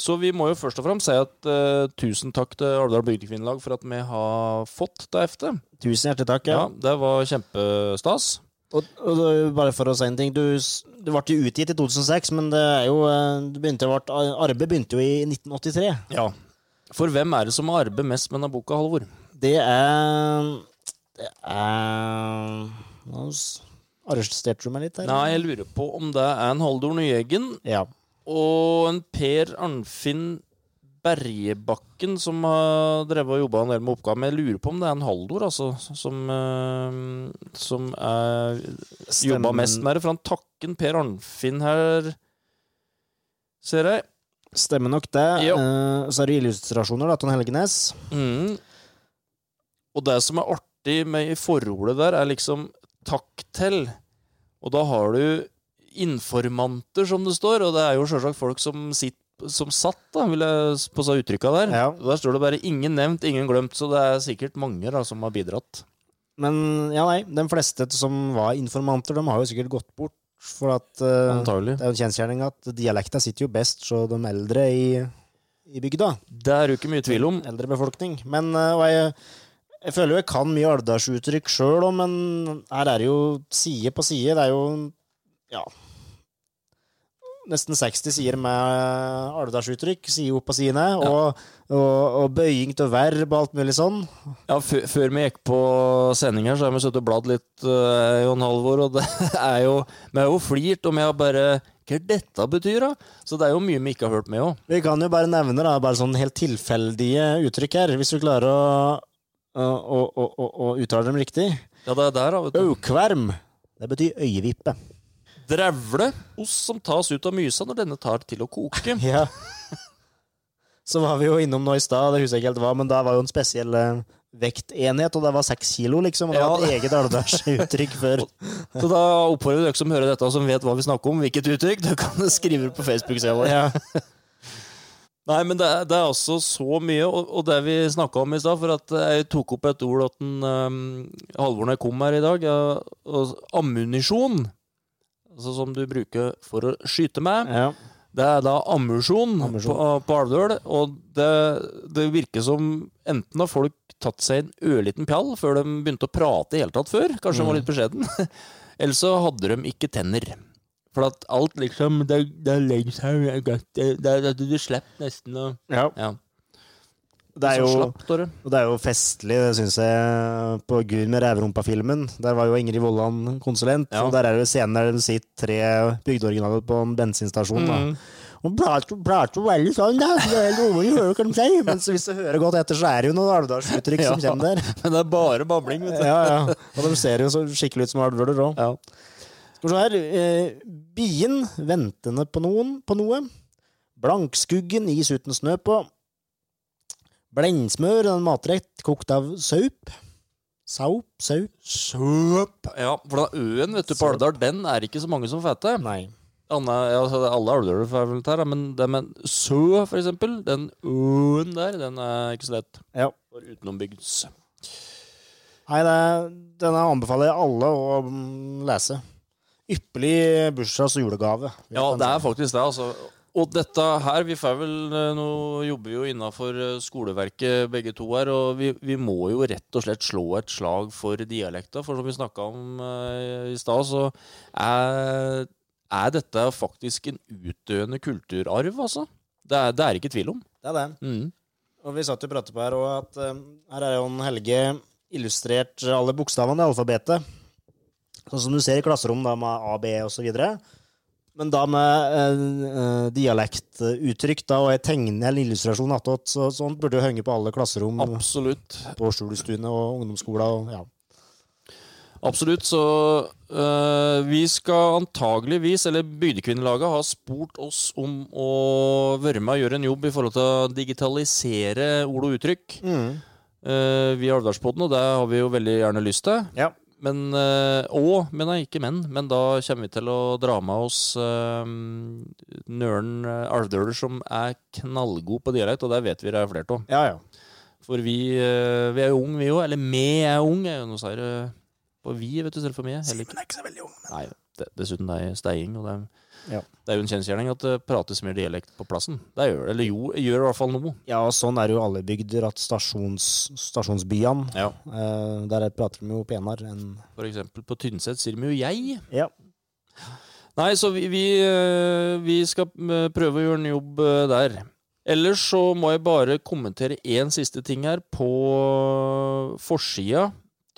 Så vi må jo først og fremst si at eh, tusen takk til Alvdal Bygdekvinnelag for at vi har fått det heftet.
Tusen hjertelig takk.
Ja,
Ja.
det var kjempestas.
Og, og det- bare for å si en ting, du, s- det ble jo utgitt i 2006, men det er jo, eh, det begynte, det ble, arbeidet begynte jo i 1983.
Ja. For hvem er det som har arbeidet mest med denne boka, Halvor?
Det er Det er Nå s- arresterte du meg litt her.
Nei, jeg lurer på om det er en Haldor Nyeggen
Ja.
og en Per Arnfinn Bergebakken som har drevet og jobba en del med oppgaven. Jeg lurer på om det er en Haldor altså, som, eh, som er jobba
Stemmen-
mest med det. For han takken Per Arnfinn her, ser jeg.
Stemmer nok det.
Jo.
Eh, så er det illustrasjoner, da, Ton Helgenes.
Mhm. Og det som er artig med i forordet der, er liksom takk til. Og da har du informanter, som det står, og det er jo sjølsagt folk som sitter som satt, da, vil jeg s- på seg uttrykka der.
Ja.
Og Der står det bare 'ingen nevnt, ingen glemt', så det er sikkert mange da, som har bidratt.
Men ja, nei, de fleste som var informanter, de har jo sikkert gått bort. For at eh,
Antagelig.
det er jo en kjensgjerning at dialekta sitter jo best hos de eldre i, i bygda.
Det er jo ikke mye tvil om.
Eldre befolkning. Men eh, og jeg, jeg føler jo jeg kan mye alvdalsuttrykk sjøl òg, men her er det jo side på side. Det er jo ja nesten 60 sider med alvdalsuttrykk, side opp og side ned, og, og, og bøying til verb og alt mulig sånn.
Ja, før- Før vi gikk på sending her, så har vi sittet og bladd litt, eh, Jon Halvor, og det er jo Vi har jo flirt, og vi har bare Hva er dette betyr, da? Så det er jo mye vi ikke har hørt med òg.
Vi kan jo bare nevne da, bare sånn helt tilfeldige uttrykk her, hvis du klarer å, å, å, å, å, å uttale dem riktig.
Ja, det er der, da, vet du.
Aukverm. Det betyr øyevippe.
Drevle. Ost som tas ut av mysa når denne tar til å koke.
Ja. Så var vi jo innom nå i stad, det husker jeg ikke helt hva, men da var jo en spesiell eh, vektenhet, og det var seks kilo, liksom. Og det var et eget alvdalsuttrykk før.
Så da oppfordrer vi dere som hører dette, og som vet hva vi snakker om, hvilket uttrykk, dere kan skrive det på Facebook-sida vår.
Ja.
Nei, men det er, det er altså så mye, og, og det vi snakka om i stad, for at jeg tok opp et ord at den, um, Halvor når jeg kom her i dag, ja, og, ammunisjon, altså som du bruker for å skyte med.
ja.
Det er da ammunisjon
Ammunisjon.
på, på Alvdøl, og det, det virker som enten har folk tatt seg en ørliten pjall før de begynte å prate i hele tatt før, kanskje de var litt beskjeden, eller så hadde de ikke tenner. For at alt liksom, det, det legger seg det er godt, det, det, det, du slipper nesten å
ja.
ja.
Det er jo,
slapp, Tore.
og det er jo festlig, det syns jeg, på Gud med rævrumpa-filmen. Der var jo Ingrid Vollan konsulent,
Ja.
og der er det jo scenen der de sitter tre bygdeoriginaler på en bensinstasjon. da.
Mm.
Hun prater, prater veldig sånn, da. Det er helt umulig å høre hva de sier. Men så hvis du hører godt etter, så er det jo noen alvdalsuttrykk som
Ja.
kommer der.
Men det er bare babling, vet du.
Ja, ja. Og de ser jo så skikkelig ut som alvøler òg.
Ja.
Skal vi se her. Eh, bien ventende på noen, på noe. Blankskuggen is uten snø på. Blendsmør er en matrett kokt av saup. Saup, saup.
Søp. Ja, for da øen vet du, på Alvdal, den er ikke så mange som får til.
Nei.
Anna, ja, altså, alle alvdøler får vel til, da, men, det- men Sø, for eksempel, den øen der, den er ikke så lett.
Ja.
For utenombygds.
Nei, det, denne anbefaler jeg alle å mm, lese. Ypperlig bursdags- og julegave.
Ja, det er faktisk det, altså. Og dette her, vi får vel eh, Nå jobber vi jo innafor skoleverket begge to her, og vi, vi må jo rett og slett slå et slag for dialekta. For som vi snakka om eh, i stad, så er, er dette faktisk en utdøende kulturarv, altså. Det er det er ikke tvil om.
Det er det.
Mm.
Og vi satt jo og pratet på her også at eh, her er jo en Helge illustrert alle bokstavene i alfabetet. Sånn som du ser i klasserom da med A, B og så videre. Men da med eh, eh, dialektuttrykk da, og jeg tegner en illustrasjon attåt, så sånt burde jo henge på alle klasserom
Absolutt.
på skjulestuene og ungdomsskolen. Og, ja.
Absolutt, så øh, vi skal antageligvis, eller Bygdekvinnelaget har spurt oss om å være med og gjøre en jobb i forhold til å digitalisere ord og uttrykk
Mm.
øh, via Alvdalspodden, og det har vi jo veldig gjerne lyst til.
ja.
Men, øh, og, men nei, ikke men, men da kommer vi til å dra med oss øh, nøren øh, alvdøler som er knallgod på dialekt, og det vet vi det er flere av.
Ja, ja.
For vi, eh, vi er jo unge, vi òg. Eller vi er unge. Nå sa jeg det eh, på vi, vet du, selv for meg. Eller ikke.
er ikke så veldig ung.
Nei, det, dessuten det er steiing, og det er,
Ja.
det er jo en kjensgjerning at det prates mer dialekt på plassen. Det gjør det. Eller jo, gjør i hvert fall noe.
Ja, og sånn er jo alle bygder, at stasjons, stasjonsbyene,
Ja.
eh, der prater de jo penere enn
For eksempel på Tynset sier vi jo jeg.
Ja.
Nei, så vi, vi, eh, vi skal eh, prøve å gjøre en jobb eh, der. Ellers så må jeg bare kommentere én siste ting her. På forsida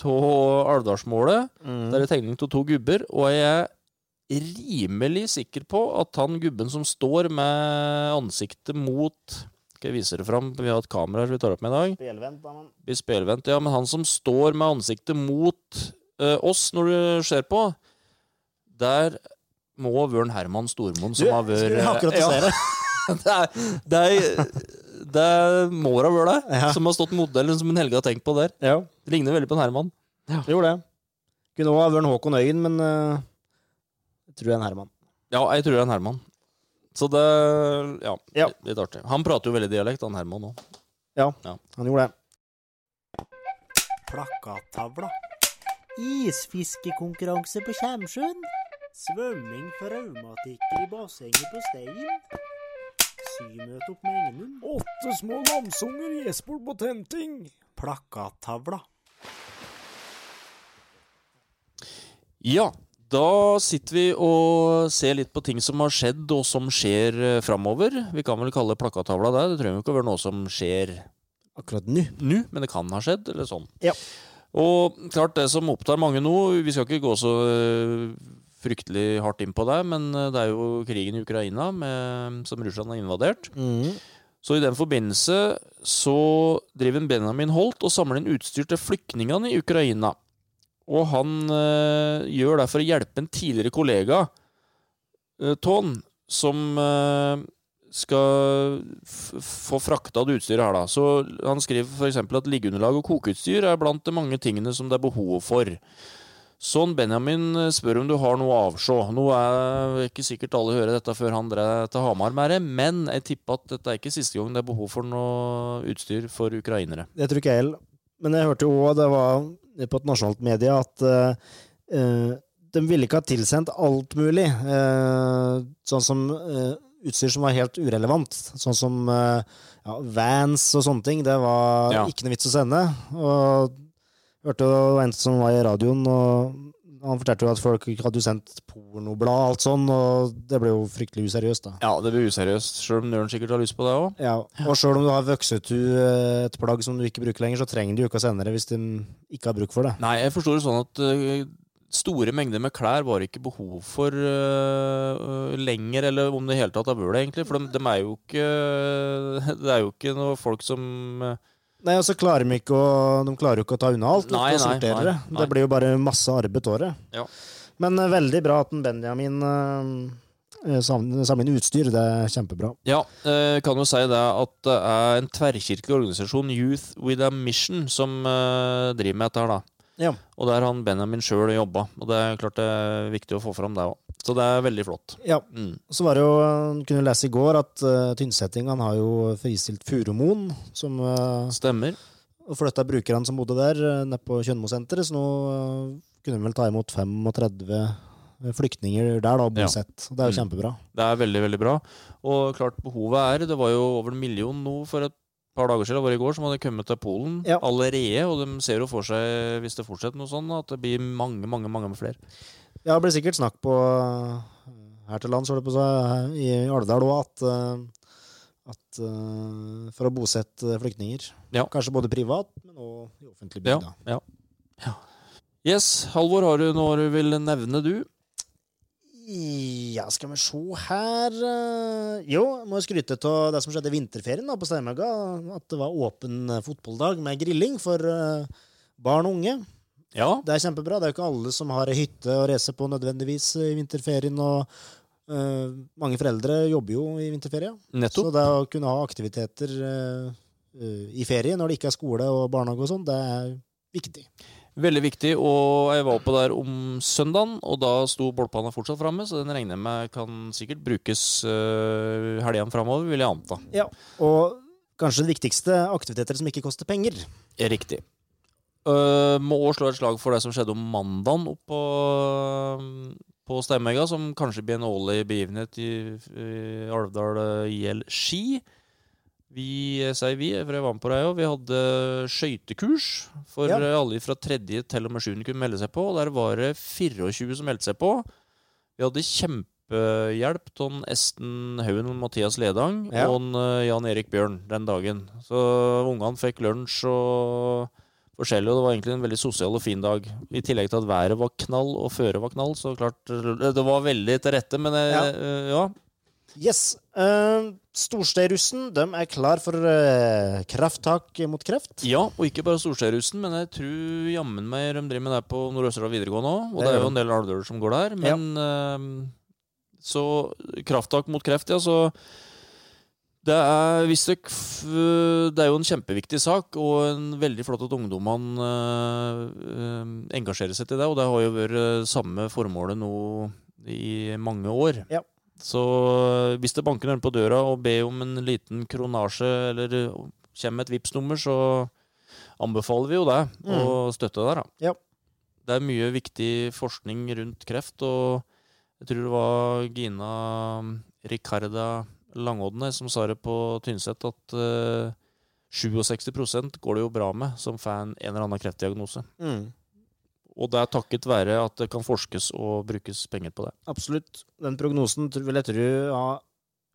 av Alvdalsmålet
Mm.
Det er en tegning av to gubber, og jeg er rimelig sikker på at han gubben som står med ansiktet mot Skal jeg vise det fram? Vi har et kamera her vi tar opp med i dag.
Spelvendt, da, men
Blir spelvendt, ja. Men han som står med ansiktet mot eh, oss når du ser på, der må Vørn Herman Stormoen, som har vært
Skulle akkurat til å se det.
det er, det er, det er Mora Vør der,
Ja.
som har stått modellen som en Helge har tenkt på der.
Ja,
Det ligner veldig på en Herman.
det gjorde det. Kunne også ha vært en Håkon Øyen, men eh, jeg tror det er en Herman.
Ja, jeg tror det er en Herman. Så det Ja,
Ja.
litt artig. Han prater jo veldig dialekt, han Herman òg.
Han gjorde det.
plakattavla. Isfiskekonkurranse på Kjemsjøen. Svømming for raumatikere i bassenget på Stein. Symøte opp med Engenum. Åtte små lamsunger i Esport på tenting. Plakattavla.
Ja, da sitter vi og ser litt på ting som har skjedd, og som skjer eh, framover. Vi kan vel kalle plakattavla det. Det trenger jo ikke å være noe som skjer
Akkurat nå.
nå, men det kan ha skjedd, eller sånn.
Ja.
Og klart, det som opptar mange nå Vi skal ikke gå så øh, fryktelig hardt inn på det, men øh, det er jo krigen i Ukraina med, som Russland har invadert.
Mhm.
Så i den forbindelse så driver Benjamin Holt og samler inn utstyr til flyktningene i Ukraina. Og han øh, gjør det for å hjelpe en tidligere kollega, øh, Tån, som øh, skal f få frakta det utstyret her, da. Så han skriver f.eks. at liggeunderlag og kokeutstyr er blant de mange tingene som det er behov for. Sånn, Benjamin spør om du har noe å avsjå. Nå er ikke sikkert alle hører dette før han drar til Hamar med det, men jeg tipper at dette er ikke siste gang det er behov for noe utstyr for ukrainere.
Det tror ikke jeg heller. Men jeg hørte jo òg, det var på et nasjonalt medie, at eh, eh, de ville ikke ha tilsendt alt mulig. eh, sånn som eh, utstyr som var helt urelevant. Sånn som eh, ja, vans og sånne ting. Det var
Ja.
ikke noe vits å sende. Og jeg hørte jo det var en som var i radioen, og han fortalte jo at folk hadde jo sendt pornoblad og alt sånn, og det ble jo fryktelig useriøst, da.
Ja, det blir useriøst, sjøl om Nøren sikkert har lyst på det òg.
Ja, og sjøl om du har vokst ut eh, et plagg som du ikke bruker lenger, så trenger du jo ikke å sende det hvis de ikke har bruk for det.
Nei, jeg forstår det sånn at øh, store mengder med klær var det ikke behov for øh, øh, lenger, eller om det i hele tatt har vært det, egentlig. For de, dem er jo ikke Det er jo ikke noe folk som øh,
Nei, og så klarer de ikke å, de klarer jo ikke å ta unna alt.
Nei,
Nei, nei,
nei, nei,
det.
nei.
det blir jo bare masse arbeid året.
Ja.
Men eh, veldig bra at en Benjamin eh, eh, sam- samle inn utstyr. Det er kjempebra.
Ja, eh, kan jo si det at det er en tverrkirkelig organisasjon, Youth with a Mission, som eh, driver med dette her, da.
Ja.
Og der han Benjamin sjøl jobba, og det er klart det er viktig å få fram det òg. Så det er veldig flott.
Ja,
Mm.
Så var det jo, eh, kunne vi lese i går at uh, Tynsetting han har jo fristilt Furumoen, som eh,
Stemmer.
og flytta brukerne som bodde der, eh, ned på Kjønmo-senteret. Så nå eh, kunne vi vel ta imot 35 flyktninger der, da,
Ja.
bosett. Det er jo
Mm.
kjempebra.
Det er veldig, veldig bra. Og klart behovet er Det var jo over en million nå for et par dager siden, det var i går, som hadde kommet til Polen
Ja.
allerede. Og de ser jo for seg, hvis det fortsetter noe sånn, at det blir mange, mange mange flere.
Ja, det blir sikkert snakk på eh, her til lands, holdt jeg på å si, her i Alvdal òg, at, eh, at eh, for å bosette flyktninger.
Ja.
Kanskje både privat, men òg i offentlig
Ja,
bygd. da.
ja. ja. Yes, Halvor, har du noe du vil nevne, du?
Ja, skal vi se her eh, Jo, jeg må jo skryte av det som skjedde i vinterferien da, på Steinmøgga. At det var åpen eh, fotballdag med grilling for eh, barn og unge.
Ja.
Det er kjempebra. Det er jo ikke alle som har ei hytte å reise på nødvendigvis i vinterferien. og eh, mange foreldre jobber jo i vinterferie.
Nettopp.
Så det å kunne ha aktiviteter eh, eh, i ferie når det ikke er skole og barnehage og sånn, det er viktig.
Veldig viktig, og jeg var oppe der om søndagen, og da sto bollpanna fortsatt framme, så den regner jeg med kan sikkert brukes øh, helgene framover, vil jeg anta.
Og kanskje det viktigste, aktiviteter som ikke koster penger.
Riktig. Øh, må òg slå et slag for det som skjedde om mandagen oppe på, på Steinmegga, som kanskje blir en årlig begivenhet i, i Alvdal eh, IL Ski. Vi, eh, jeg sier vi, for jeg var med på det òg, vi hadde eh, skøytekurs for
Ja.
eh, alle fra tredje til og med sjuende kunne melde seg på. og Der var det 24 som meldte seg på. Vi hadde kjempehjelp av Esten Haugen og Mathias Ledang
Ja.
og en, eh, Jan Erik Bjørn den dagen. Så ungene fikk lunsj og forskjellig, og det var egentlig en veldig sosial og fin dag. I tillegg til at været var knall og føret var knall, så klart eh, Det var veldig til rette, men eh,
Ja.
eh, ja.
Yes. Uh, Storsteirussen de er klar for eh, krafttak mot kreft.
Ja, og ikke bare Storsteirussen, men jeg tror jammen meg de driver med det på Nord-Østerdal videregående òg. Og
Det
det er
gjør
jo en del alvdøler som går der. Men eh, så krafttak mot kreft, ja, så det er, hvis dere f- det er jo en kjempeviktig sak, og en veldig flott at ungdommene eh, eh, engasjerer seg til det. Og det har jo vært eh, samme formålet nå i mange år.
Ja.
Så hvis det banker noen på døra og ber om en liten kronasje, eller eh, kommer med et Vipps-nummer, så anbefaler vi jo det,
Mm.
å støtte der. Da.
Ja.
Det er mye viktig forskning rundt kreft, og jeg tror det var Gina um, Ricarda Langodne som sa det på Tynset, at eh, 67 går det jo bra med som får en eller annen kreftdiagnose.
Mm.
Og det er takket være at det kan forskes og brukes penger på det.
Absolutt. Den prognosen tror- vil jeg tro ja,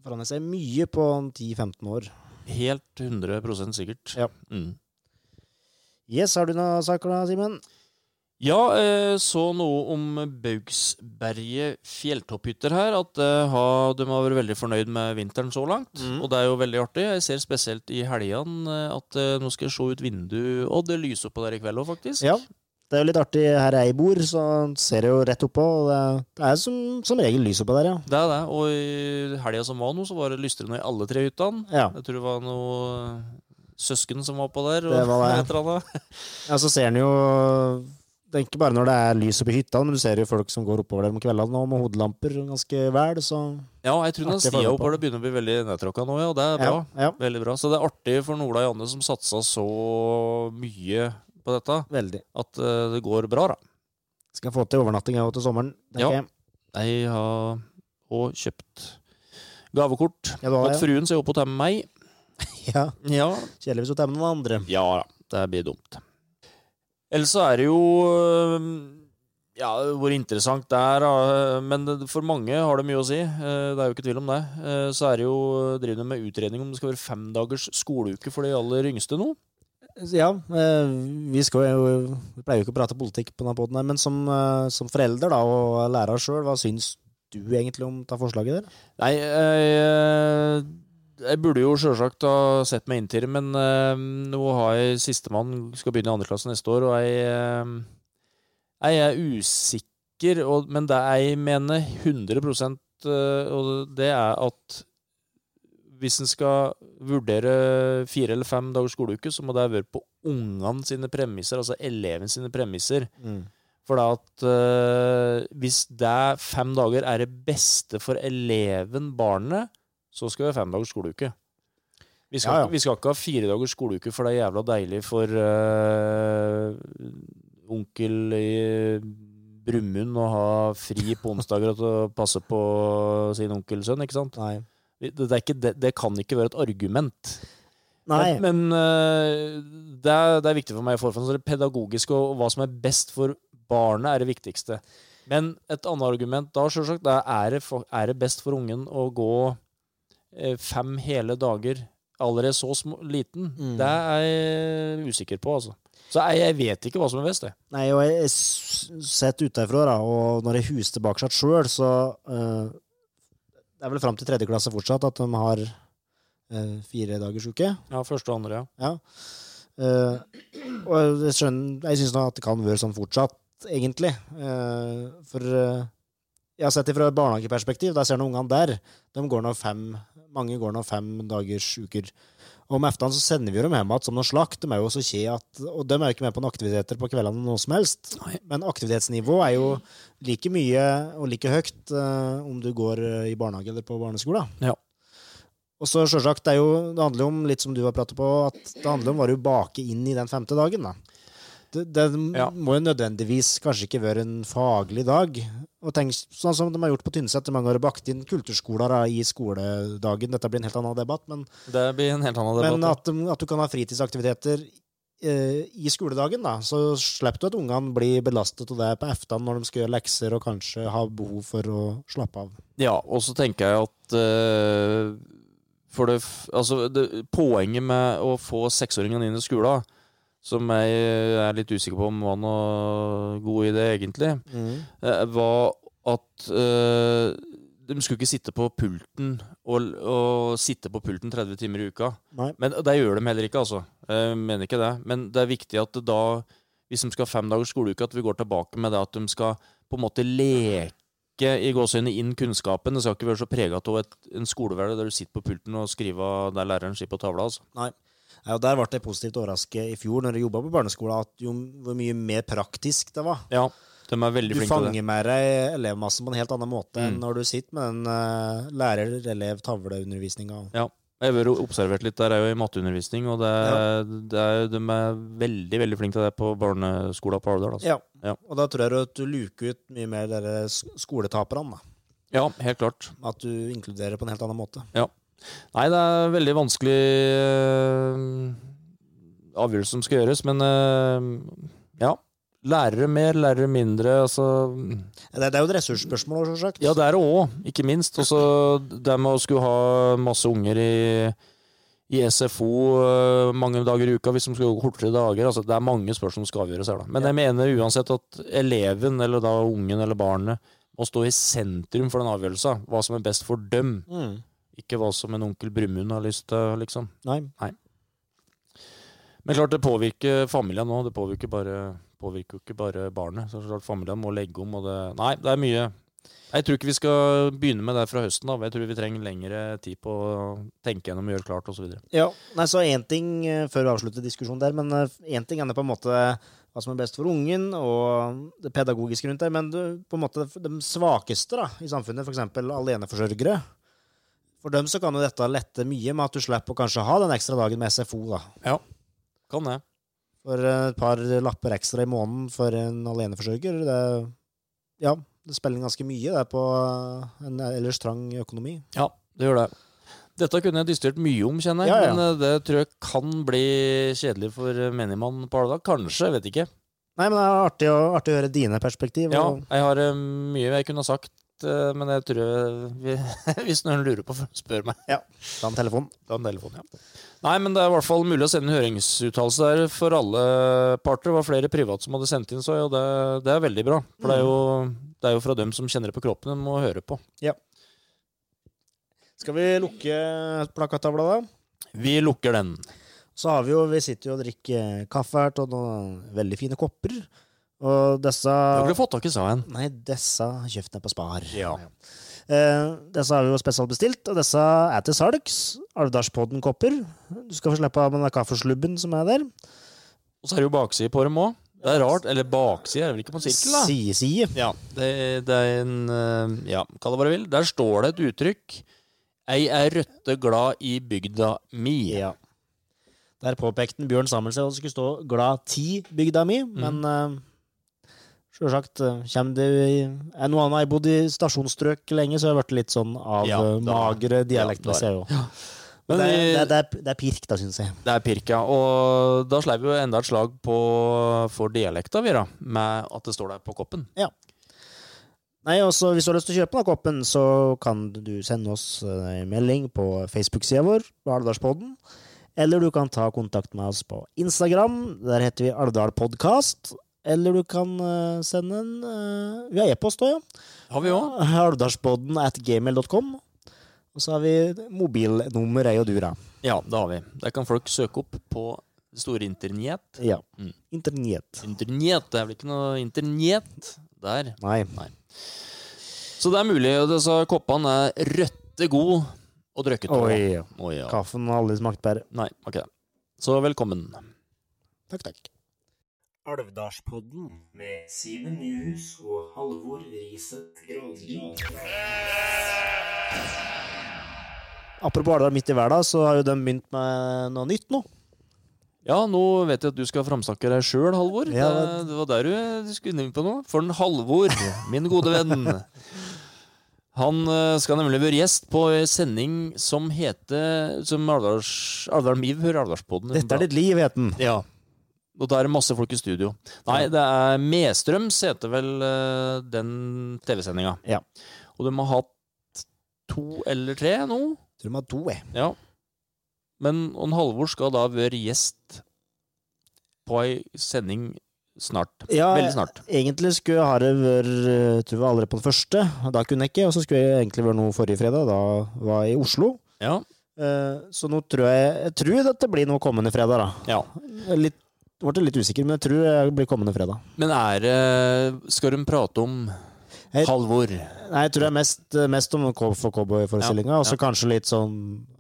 forandrer seg mye på 10-15 år.
Helt 100 sikkert.
Ja.
Mm.
Yes, har du noen saker da, Simen?
Ja, eh, så noe om Baugsberget fjelltopphytter her. At eh, ha, de har vært veldig fornøyd med vinteren så langt.
Mm.
Og det er jo veldig artig. Jeg ser spesielt i helgene eh, at eh, nå skal jeg se ut vinduet, og det lyser oppå der i kveld òg, faktisk.
Ja. Det er jo litt artig. Her jeg bor, så ser jeg jo rett oppå. Og det, det er som, som regel lys oppå der, ja.
Det er det. Og i helga som var nå, så var det lystrende i alle tre hyttene.
ja.
Jeg tror det var noe eh, søsken som var på der,
Det
og
var det.
et eller annet.
Ja, så ser en jo Det er ikke bare når det er lys oppe i hytta, men du ser jo folk som går oppover der om kveldene nå med hodelamper ganske vel, så
Ja, jeg tror den
Artig
stia
forhold på.
oppover det begynner å bli veldig nedtråkka nå, ja. og Det er bra.
ja, ja,
Veldig bra. Så det er artig for Ola Janne som satsa så mye på dette,
veldig.
at eh, det går bra, da.
Skal få til overnatting her til sommeren.
Ja.
tenker jeg.
Jeg har òg kjøpt gavekort.
Ja, du har
At
det,
fruen ser opp og tar med meg.
ja.
Ja.
Kjedelig hvis du tar med noen andre.
ja da. Det blir dumt. Ellers så er det jo eh, Ja, hvor interessant det er, da. Men det- for mange har det mye å si. Eh, Det er jo ikke tvil om det. Eh, Så er det jo driver de med utredning om det skal være fem dagers skoleuke for de aller yngste nå.
Ja, eh, vi, skal jo, vi pleier jo ikke å prate politikk på denne poden, men som, eh, som forelder da, og lærer sjøl, hva syns du egentlig om det forslaget der?
Nei, jeg, jeg burde jo sjølsagt ha sett meg inn til det, men eh, nå har jeg sistemann skal begynne i andre klasse neste år, og jeg, eh, jeg er usikker, og, men det jeg mener 100 eh, og det er at hvis en skal vurdere fire eller fem dagers skoleuke, så må det være på ungene sine premisser, altså eleven sine premisser.
Mm.
For det at eh, hvis det fem dager er det beste for eleven, barnet, så skal vi ha fem dagers skoleuke. Vi skal,
Ja, ja.
ikke- vi skal ikke ha fire dagers skoleuke, for det er jævla deilig for eh, onkel i Brumund å ha fri på onsdager til å passe på sin onkelsønn, ikke sant?
Nei.
Det, det, er ikke, det, det kan ikke være et argument.
Nei.
Eh, Men, men, øh, det, er, det er viktig for meg i forhånd. Så det pedagogiske og hva som er best for barnet, er det viktigste. Men et annet argument da, sjølsagt, det er er det for- er det best for ungen å gå eh, fem hele dager allerede så små, liten?
Mm.
Det er jeg usikker på, altså. Så jeg, jeg vet ikke hva som er best, jeg.
Nei, og jeg, jeg s- sett utenfra, da, og når jeg huser bak seg sjøl, så eh, Det er vel fram til tredje klasse fortsatt at de har eh, fire dagers uke.
Ja, første og andre, ja.
Ja. Eh, og jeg skjønner Jeg syns nå at det kan være sånn fortsatt, egentlig. Eh, for eh, jeg har sett det fra et barnehageperspektiv. Der ser du ungene der. De går nå fem Mange går nå fem dagers uker. Og om ettermiddagen så sender vi dem hjem igjen som noe slakk. De er jo så kje at Og de er jo ikke med på noen aktiviteter på kveldene noe som helst. Men aktivitetsnivået er jo like mye og like høyt eh, om du går eh, i barnehage eller på barneskolen.
Ja.
Og så selvsagt, det, er jo, det handler jo om, litt som du har pratet på, at det handler om hva du baker inn i den femte dagen. Da. Det, det
Ja.
må jo nødvendigvis kanskje ikke være en faglig dag. Og tenk, sånn som de har gjort på Tynset i mange år, og bakt inn kulturskoler da, i skoledagen. Dette blir en helt annen debatt, men,
Det blir en helt annen debatt.
men at, de- at du kan ha fritidsaktiviteter eh, i skoledagen, da, så slipper du at ungene blir belastet av det på eftan når de skal gjøre lekser og kanskje har behov for å slappe av.
Ja, og så tenker jeg at eh, for det, f- altså det, Poenget med å få seksåringene inn i skolen, som jeg er litt usikker på om var noe god idé, egentlig, eh, var at eh, de skulle ikke sitte på pulten og, og sitte på pulten 30 timer i uka.
Nei.
Men det gjør de heller ikke, altså. Jeg mener ikke det. Men det er viktig at det da, hvis de skal ha fem dagers skoleuke, at vi går tilbake med det at de skal på en måte leke i gåsehudene inn kunnskapen. Det skal ikke være så prega av et, en skolehverdag der du sitter på pulten og skriver der læreren sier på tavla, altså.
Ja, og Der ble jeg positivt overrasket i fjor når jeg jobba på barneskolen, at jo hvor mye mer praktisk det var.
Ja, de er veldig
Du
flinke til det. Mm.
fanger med deg elevmassen på en helt annen måte enn når du sitter med den eh, sånn. lærer-elev-tavleundervisninga.
Jeg har vært observert litt der, jeg er jo i matteundervisning, og det, er- det er, de er veldig, veldig flinke til det på barneskolen på Alvdal, altså.
Ja.
Ja.
Og da tror jeg at du luker ut mye mer dere s- skoletaperne. da.
Ja, helt klart.
At du inkluderer på en helt annen måte.
Nei, det er veldig vanskelig øh, avgjørelse som skal gjøres, men øh, ja. Lærere mer, lærere mindre, altså
Det, det er jo et ressursspørsmål, selvsagt.
Ja, det er det òg, ikke minst. Og så det med å skulle ha masse unger i, i SFO eh, mange dager i uka hvis de skal gå kortere dager. Altså, det er mange spørsmål som skal avgjøres her, da. Men jeg mener uansett at eleven, eller da ungen eller barnet, må stå i sentrum for den avgjørelsen. Hva som er best for dem,
Mm.
ikke hva som en onkel Brumund har lyst til, liksom.
Nei.
Men klart, det påvirker familien nå. Det påvirker, bare, påvirker jo ikke bare barnet. Så klart Familien må legge om, og det Nei, det er mye. Jeg tror ikke vi skal begynne med det fra høsten av. Jeg tror vi trenger lengre tid på å tenke gjennom og gjøre klart osv.
Ja, nei, så en ting eh, før vi avslutter diskusjonen der, men eh, én ting er det på en måte eh, hva som er best for ungen, og det pedagogiske rundt det, men du, på en måte de svakeste da, i samfunnet, f.eks. aleneforsørgere. For dem så kan jo dette lette mye med at du slipper å kanskje ha den ekstra dagen med SFO. da.
Kan det.
For eh, et par lapper ekstra i måneden for en aleneforsørger, det, ja, det spiller inn ganske mye det er på eh, en ellers trang økonomi.
Ja, det gjør det. Dette kunne jeg distillert mye om, kjenner jeg.
Ja, ja.
Men eh, det tror jeg kan bli kjedelig for menigmannen på Alvdal. Kanskje, jeg vet ikke.
Nei, men det er artig å, artig å høre dine perspektiv.
Ja,
og-
jeg har eh, mye jeg kunne ha sagt, eh, men jeg tror vi, hvis noen lurer på, spør meg.
Ta en telefon.
Ta en telefon, ja. Nei, men det er i hvert fall mulig å sende en høringsuttalelse der for alle parter. Det var flere private som hadde sendt inn, så jo, det, det er veldig bra. For det er, jo, det er jo fra dem som kjenner det på kroppen, en må høre på.
Skal vi lukke plakatavla, da?
Vi lukker den.
Så har vi jo, vi sitter jo og drikker kaffe her til noen veldig fine kopper. Og disse
Du har ikke fått tak i Saen.
Nei, disse kjøpte jeg på Spar.
Ja.
Eh, disse har vi jo spesielt bestilt, og disse er til salgs. Alvdalspodden-kopper. Du skal få slippe av med den kaffeslubben som er der.
Og så er det jo bakside på dem òg. Det er rart. Eller bakside er det vel ikke på en sirkel, da?
Side-side.
Ja, det, det er en eh, Ja, kall det hva du vil. Der står det et uttrykk. Ei er røtte glad i bygda mi.
Ja. Der påpekte den Bjørn Samuelsen at det skulle stå 'Glad ti, bygda mi',
Mm.
men eh, Sjølsagt eh, kommer det er noe annet. Jeg har bodd i stasjonsstrøk lenge, så jeg har blitt litt sånn av
Ja,
eh,
da-
magre dialektmessig.
ja,
jeg også. Men
Men
det,
vi-
er- det, er- det, er- det er pirk, da, syns jeg.
Det er pirka. Og da sleiv vi jo enda et slag på, for dialekta, vi, da. Med at det står der på koppen.
Nei, også Hvis du har lyst til å kjøpe den koppen, så kan du sende oss eh, en melding på Facebook-sida vår, Alvdalspodden. Eller du kan ta kontakt med oss på Instagram. Der heter vi Alvdalpodkast. Eller du kan eh, sende en eh, via e-post òg, ja.
Har vi òg.
Alvdalspodden at gmail.com. Og så har vi mobilnummer, ei og dura.
Ja, det har vi. Der kan folk søke opp på det store internett.
Ja.
Mm.
Internett.
Internett, det er vel ikke noe internett der.
Nei.
Så det er mulig. Og disse koppene er røtte god å drikke av.
Oi.
Oi, ja.
Kaffen har aldri smakt bedre.
Nei, ok. Så velkommen.
Takk, takk.
Alvdalspodden.
med Simen Nyhus og Halvor Riset Gravdal.
Apropos Alvdal midt i verden, så har jo de begynt med noe nytt nå.
Ja, nå vet jeg at du skal framsnakke deg sjøl, Halvor.
Ja,
det,
det-
det var der du, du skulle inn på noe. For en Halvor, min gode venn. Han eh, skal nemlig være gjest på en sending som heter Som Alvdals- Alvdal Miv hører Alvdalspodden.
Dette er ditt liv, het den.
Ja. Og da er det masse folk i studio. Nei, det er Mestrøms heter vel eh, den TV-sendinga.
Ja.
Og de har hatt to eller tre nå.
Tror de har to, E. jeg.
Ja. Men Ånd Halvor skal da være gjest på ei sending snart.
Ja,
Veldig snart.
Egentlig skulle jeg ha det vært eh, tror jeg var allerede på den første, og da kunne jeg ikke. Og så skulle jeg egentlig vært noe forrige fredag, da var jeg i Oslo.
Ja.
Eh, Så nå tror jeg Jeg tror at det blir noe kommende fredag, da.
ja.
Jeg er Litt, ble litt usikker, men jeg tror det blir kommende fredag.
Men er det Skal de prate om
Jeg-
Halvor?
Nei, jeg tror det er mest, eh, mest om K- for cowboyforestillinga,
Ja,
og så kanskje litt sånn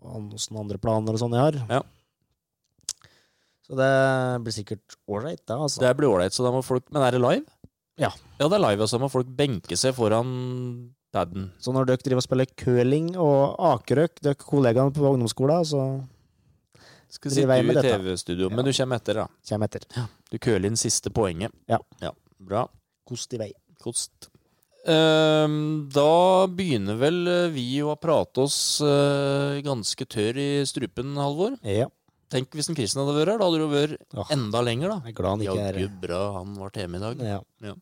om åssen andre planer og sånn jeg har.
Ja.
Så det blir sikkert ålreit, det, altså.
Det blir ålreit, så da må folk Men er det live?
Ja.
Ja, det er live, og så må folk benke seg foran paden.
Så når dere driver og spiller curling og akerøk, dere kollegaene på ungdomsskolen, så
Skal
Driv
sitte
vei
i
med dette.
TV-studio, men du kommer etter, da.
kommer jeg etter.
Du køler inn siste poenget.
Ja.
Bra.
Kost i vei.
Kost. Ehm, da begynner vel eh, vi å prate oss eh, ganske tørr i strupen, Halvor.
Ja.
Tenk hvis en Kristen hadde vært her, da hadde du vært
Åh,
enda lenger, da.
jeg er glad han ikke er
Jaggu bra han var hjemme i dag.
ja.
Ja.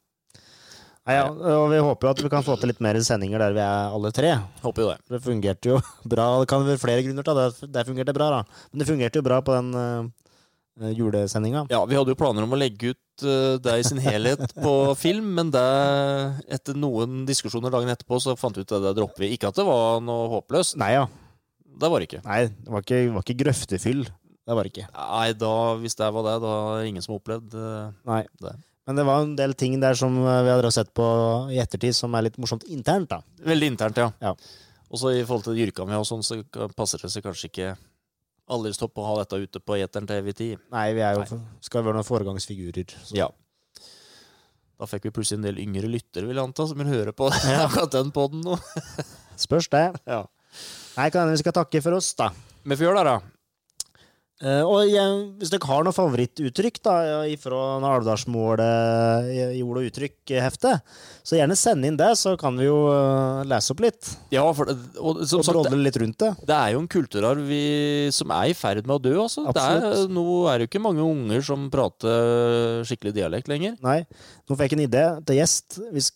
Nei, ja, og vi håper jo at vi kan få til litt mer sendinger der vi er alle tre.
Håper jo det.
Det fungerte jo bra. Det kan være flere grunner til at det. Det fungerte bra, da. Men det fungerte jo bra på den eh, julesendinga.
Ja, vi hadde jo planer om å legge ut eh, det i sin helhet på film, men det, etter noen diskusjoner dagen etterpå, så fant vi ut at det dropper vi. Ikke at det var noe håpløst.
Nei ja.
Det var det ikke.
Nei, det var ikke, var ikke grøftefyll. Det var det ikke.
Nei, da, hvis det var det, da er det ingen som har opplevd eh,
Nei.
Det.
Men det var en del ting der som eh, vi hadde sett på i ettertid, som er litt morsomt internt, da.
Veldig internt, ja.
Ja.
Og så i forhold til yrkene vi har, og sånn, så ka- passer det seg kanskje ikke aller stopp å ha dette ute på eteren til evig tid.
Nei, vi er jo,
Nei.
skal jo være noen foregangsfigurer. Så.
Ja. Da fikk vi plutselig en del yngre lyttere, vil jeg anta, som vil høre på akkurat den podden nå.
Spørs det.
Ja.
Nei, kan hende vi skal takke for oss, da.
Men vi gjør det, da.
Eh, og jeg, hvis dere har noen favorittuttrykk da, fra Alvdalsmålet i i ord- og uttrykk-heftet, så gjerne send inn det, så kan vi jo eh, lese opp litt.
Ja, for det, og, som
Og
sagt,
brodle litt rundt det.
det er jo en kulturarv vi, som er i ferd med å dø, altså. Det er,
Absolutt.
nå er det jo ikke mange unger som prater skikkelig dialekt lenger.
Nei, nå fikk jeg en idé til gjest. Hvis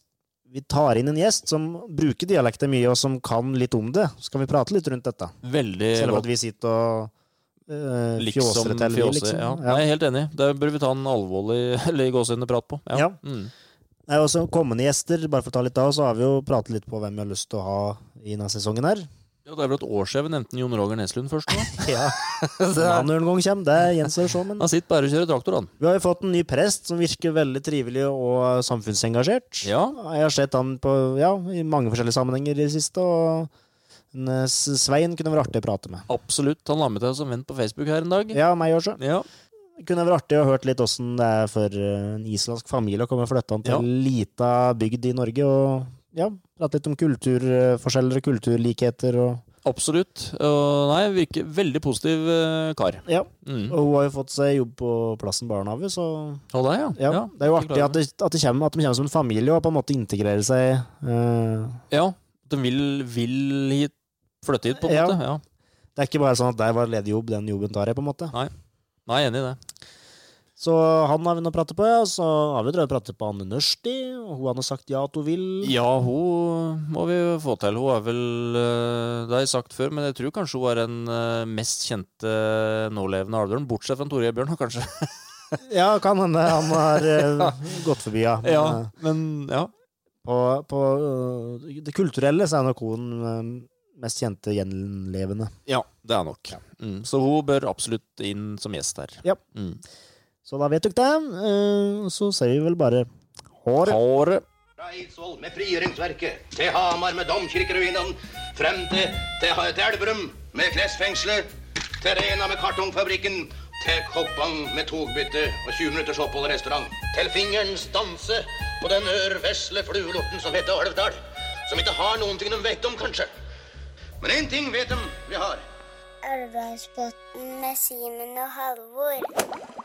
vi tar inn en gjest som bruker dialekten mye, og som kan litt om det, så kan vi prate litt rundt dette.
Veldig
Selv om
godt.
at vi sitter og uh,
Liksom
fjåser til, vi,
fjåse,
liksom.
ja.
Ja.
Jeg er helt enig. Der bør vi ta en alvorlig eller gåsehudende prat på.
Ja.
Mm.
Nei, og så kommende gjester, bare for å ta litt av, så har vi jo pratet litt på hvem vi har lyst til å ha i denne sesongen her.
Ja, det er vel et år siden vi nevnte Jon Roger Neslund først nå.
Ja,
Det
Når
er-
han noen gang kommer, det gjenstår å se, men
Han sitter bare og kjører traktor, han.
Vi har jo fått en ny prest som virker veldig trivelig og samfunnsengasjert.
Ja.
Jeg har sett han på, ja, i mange forskjellige sammenhenger i det siste, og en, eh, S- Svein kunne vært artig å prate med.
Absolutt. Han la med til som venn på Facebook her en dag.
Ja, meg også.
Ja.
Kunne vært artig å hørt litt åssen det er for eh, en islandsk familie å komme flytta til
Ja.
en lita bygd i Norge, og ja, prate litt om kulturforskjeller og kulturlikheter og
Absolutt. Og nei, virker veldig positiv eh, kar.
Ja.
Mm.
Og hun har jo fått seg jobb på Plassen barnehage, så
Og deg, ja.
ja, Det er jo
ikke
artig
klar
at, det, at, det kommer, at de kommer som en familie og på en måte integrerer seg eh,
Ja, de vil, vil hit, flytte hit, på en
Ja.
måte. Ja.
Det er ikke bare sånn at der var ledig jobb, den jobben tar jeg, på en måte.
Nei, jeg er enig i det.
Så han har vi nå pratet på, ja. Så har vi drevet og pratet på Anne Nørsti, og hun har nå sagt ja at hun vil.
Ja, hun må vi jo få til. Hun er vel eh, Det har jeg sagt før, men jeg tror kanskje hun er den eh, mest kjente eh, nålevende alveren, bortsett fra Tore Bjørn, kanskje.
Ja, kan hende han har eh, gått forbi, ja. Men, eh,
men ja.
På, på eh, det kulturelle så er nok hun eh, mest kjente gjenlevende.
Ja, det er nok. Mm, så hun bør absolutt inn som gjest her.
Ja.
Mm.
Så da vet dere det. eh, Så sier vi vel bare ha det.
Håret.
Fra Eidsvoll med frigjøringsverket, til Hamar med domkirkeruinene, frem til, til, til Elverum med klesfengselet, til Rena med kartongfabrikken, til Koppang med togbytte og 20 minutters opphold i restaurant, til fingerens danse på den ørvesle fluelorten som heter Alvdal, som ikke har noen ting de vet om, kanskje. Men én ting vet de vi har.
Alvdalsbotn med Simen og Halvor.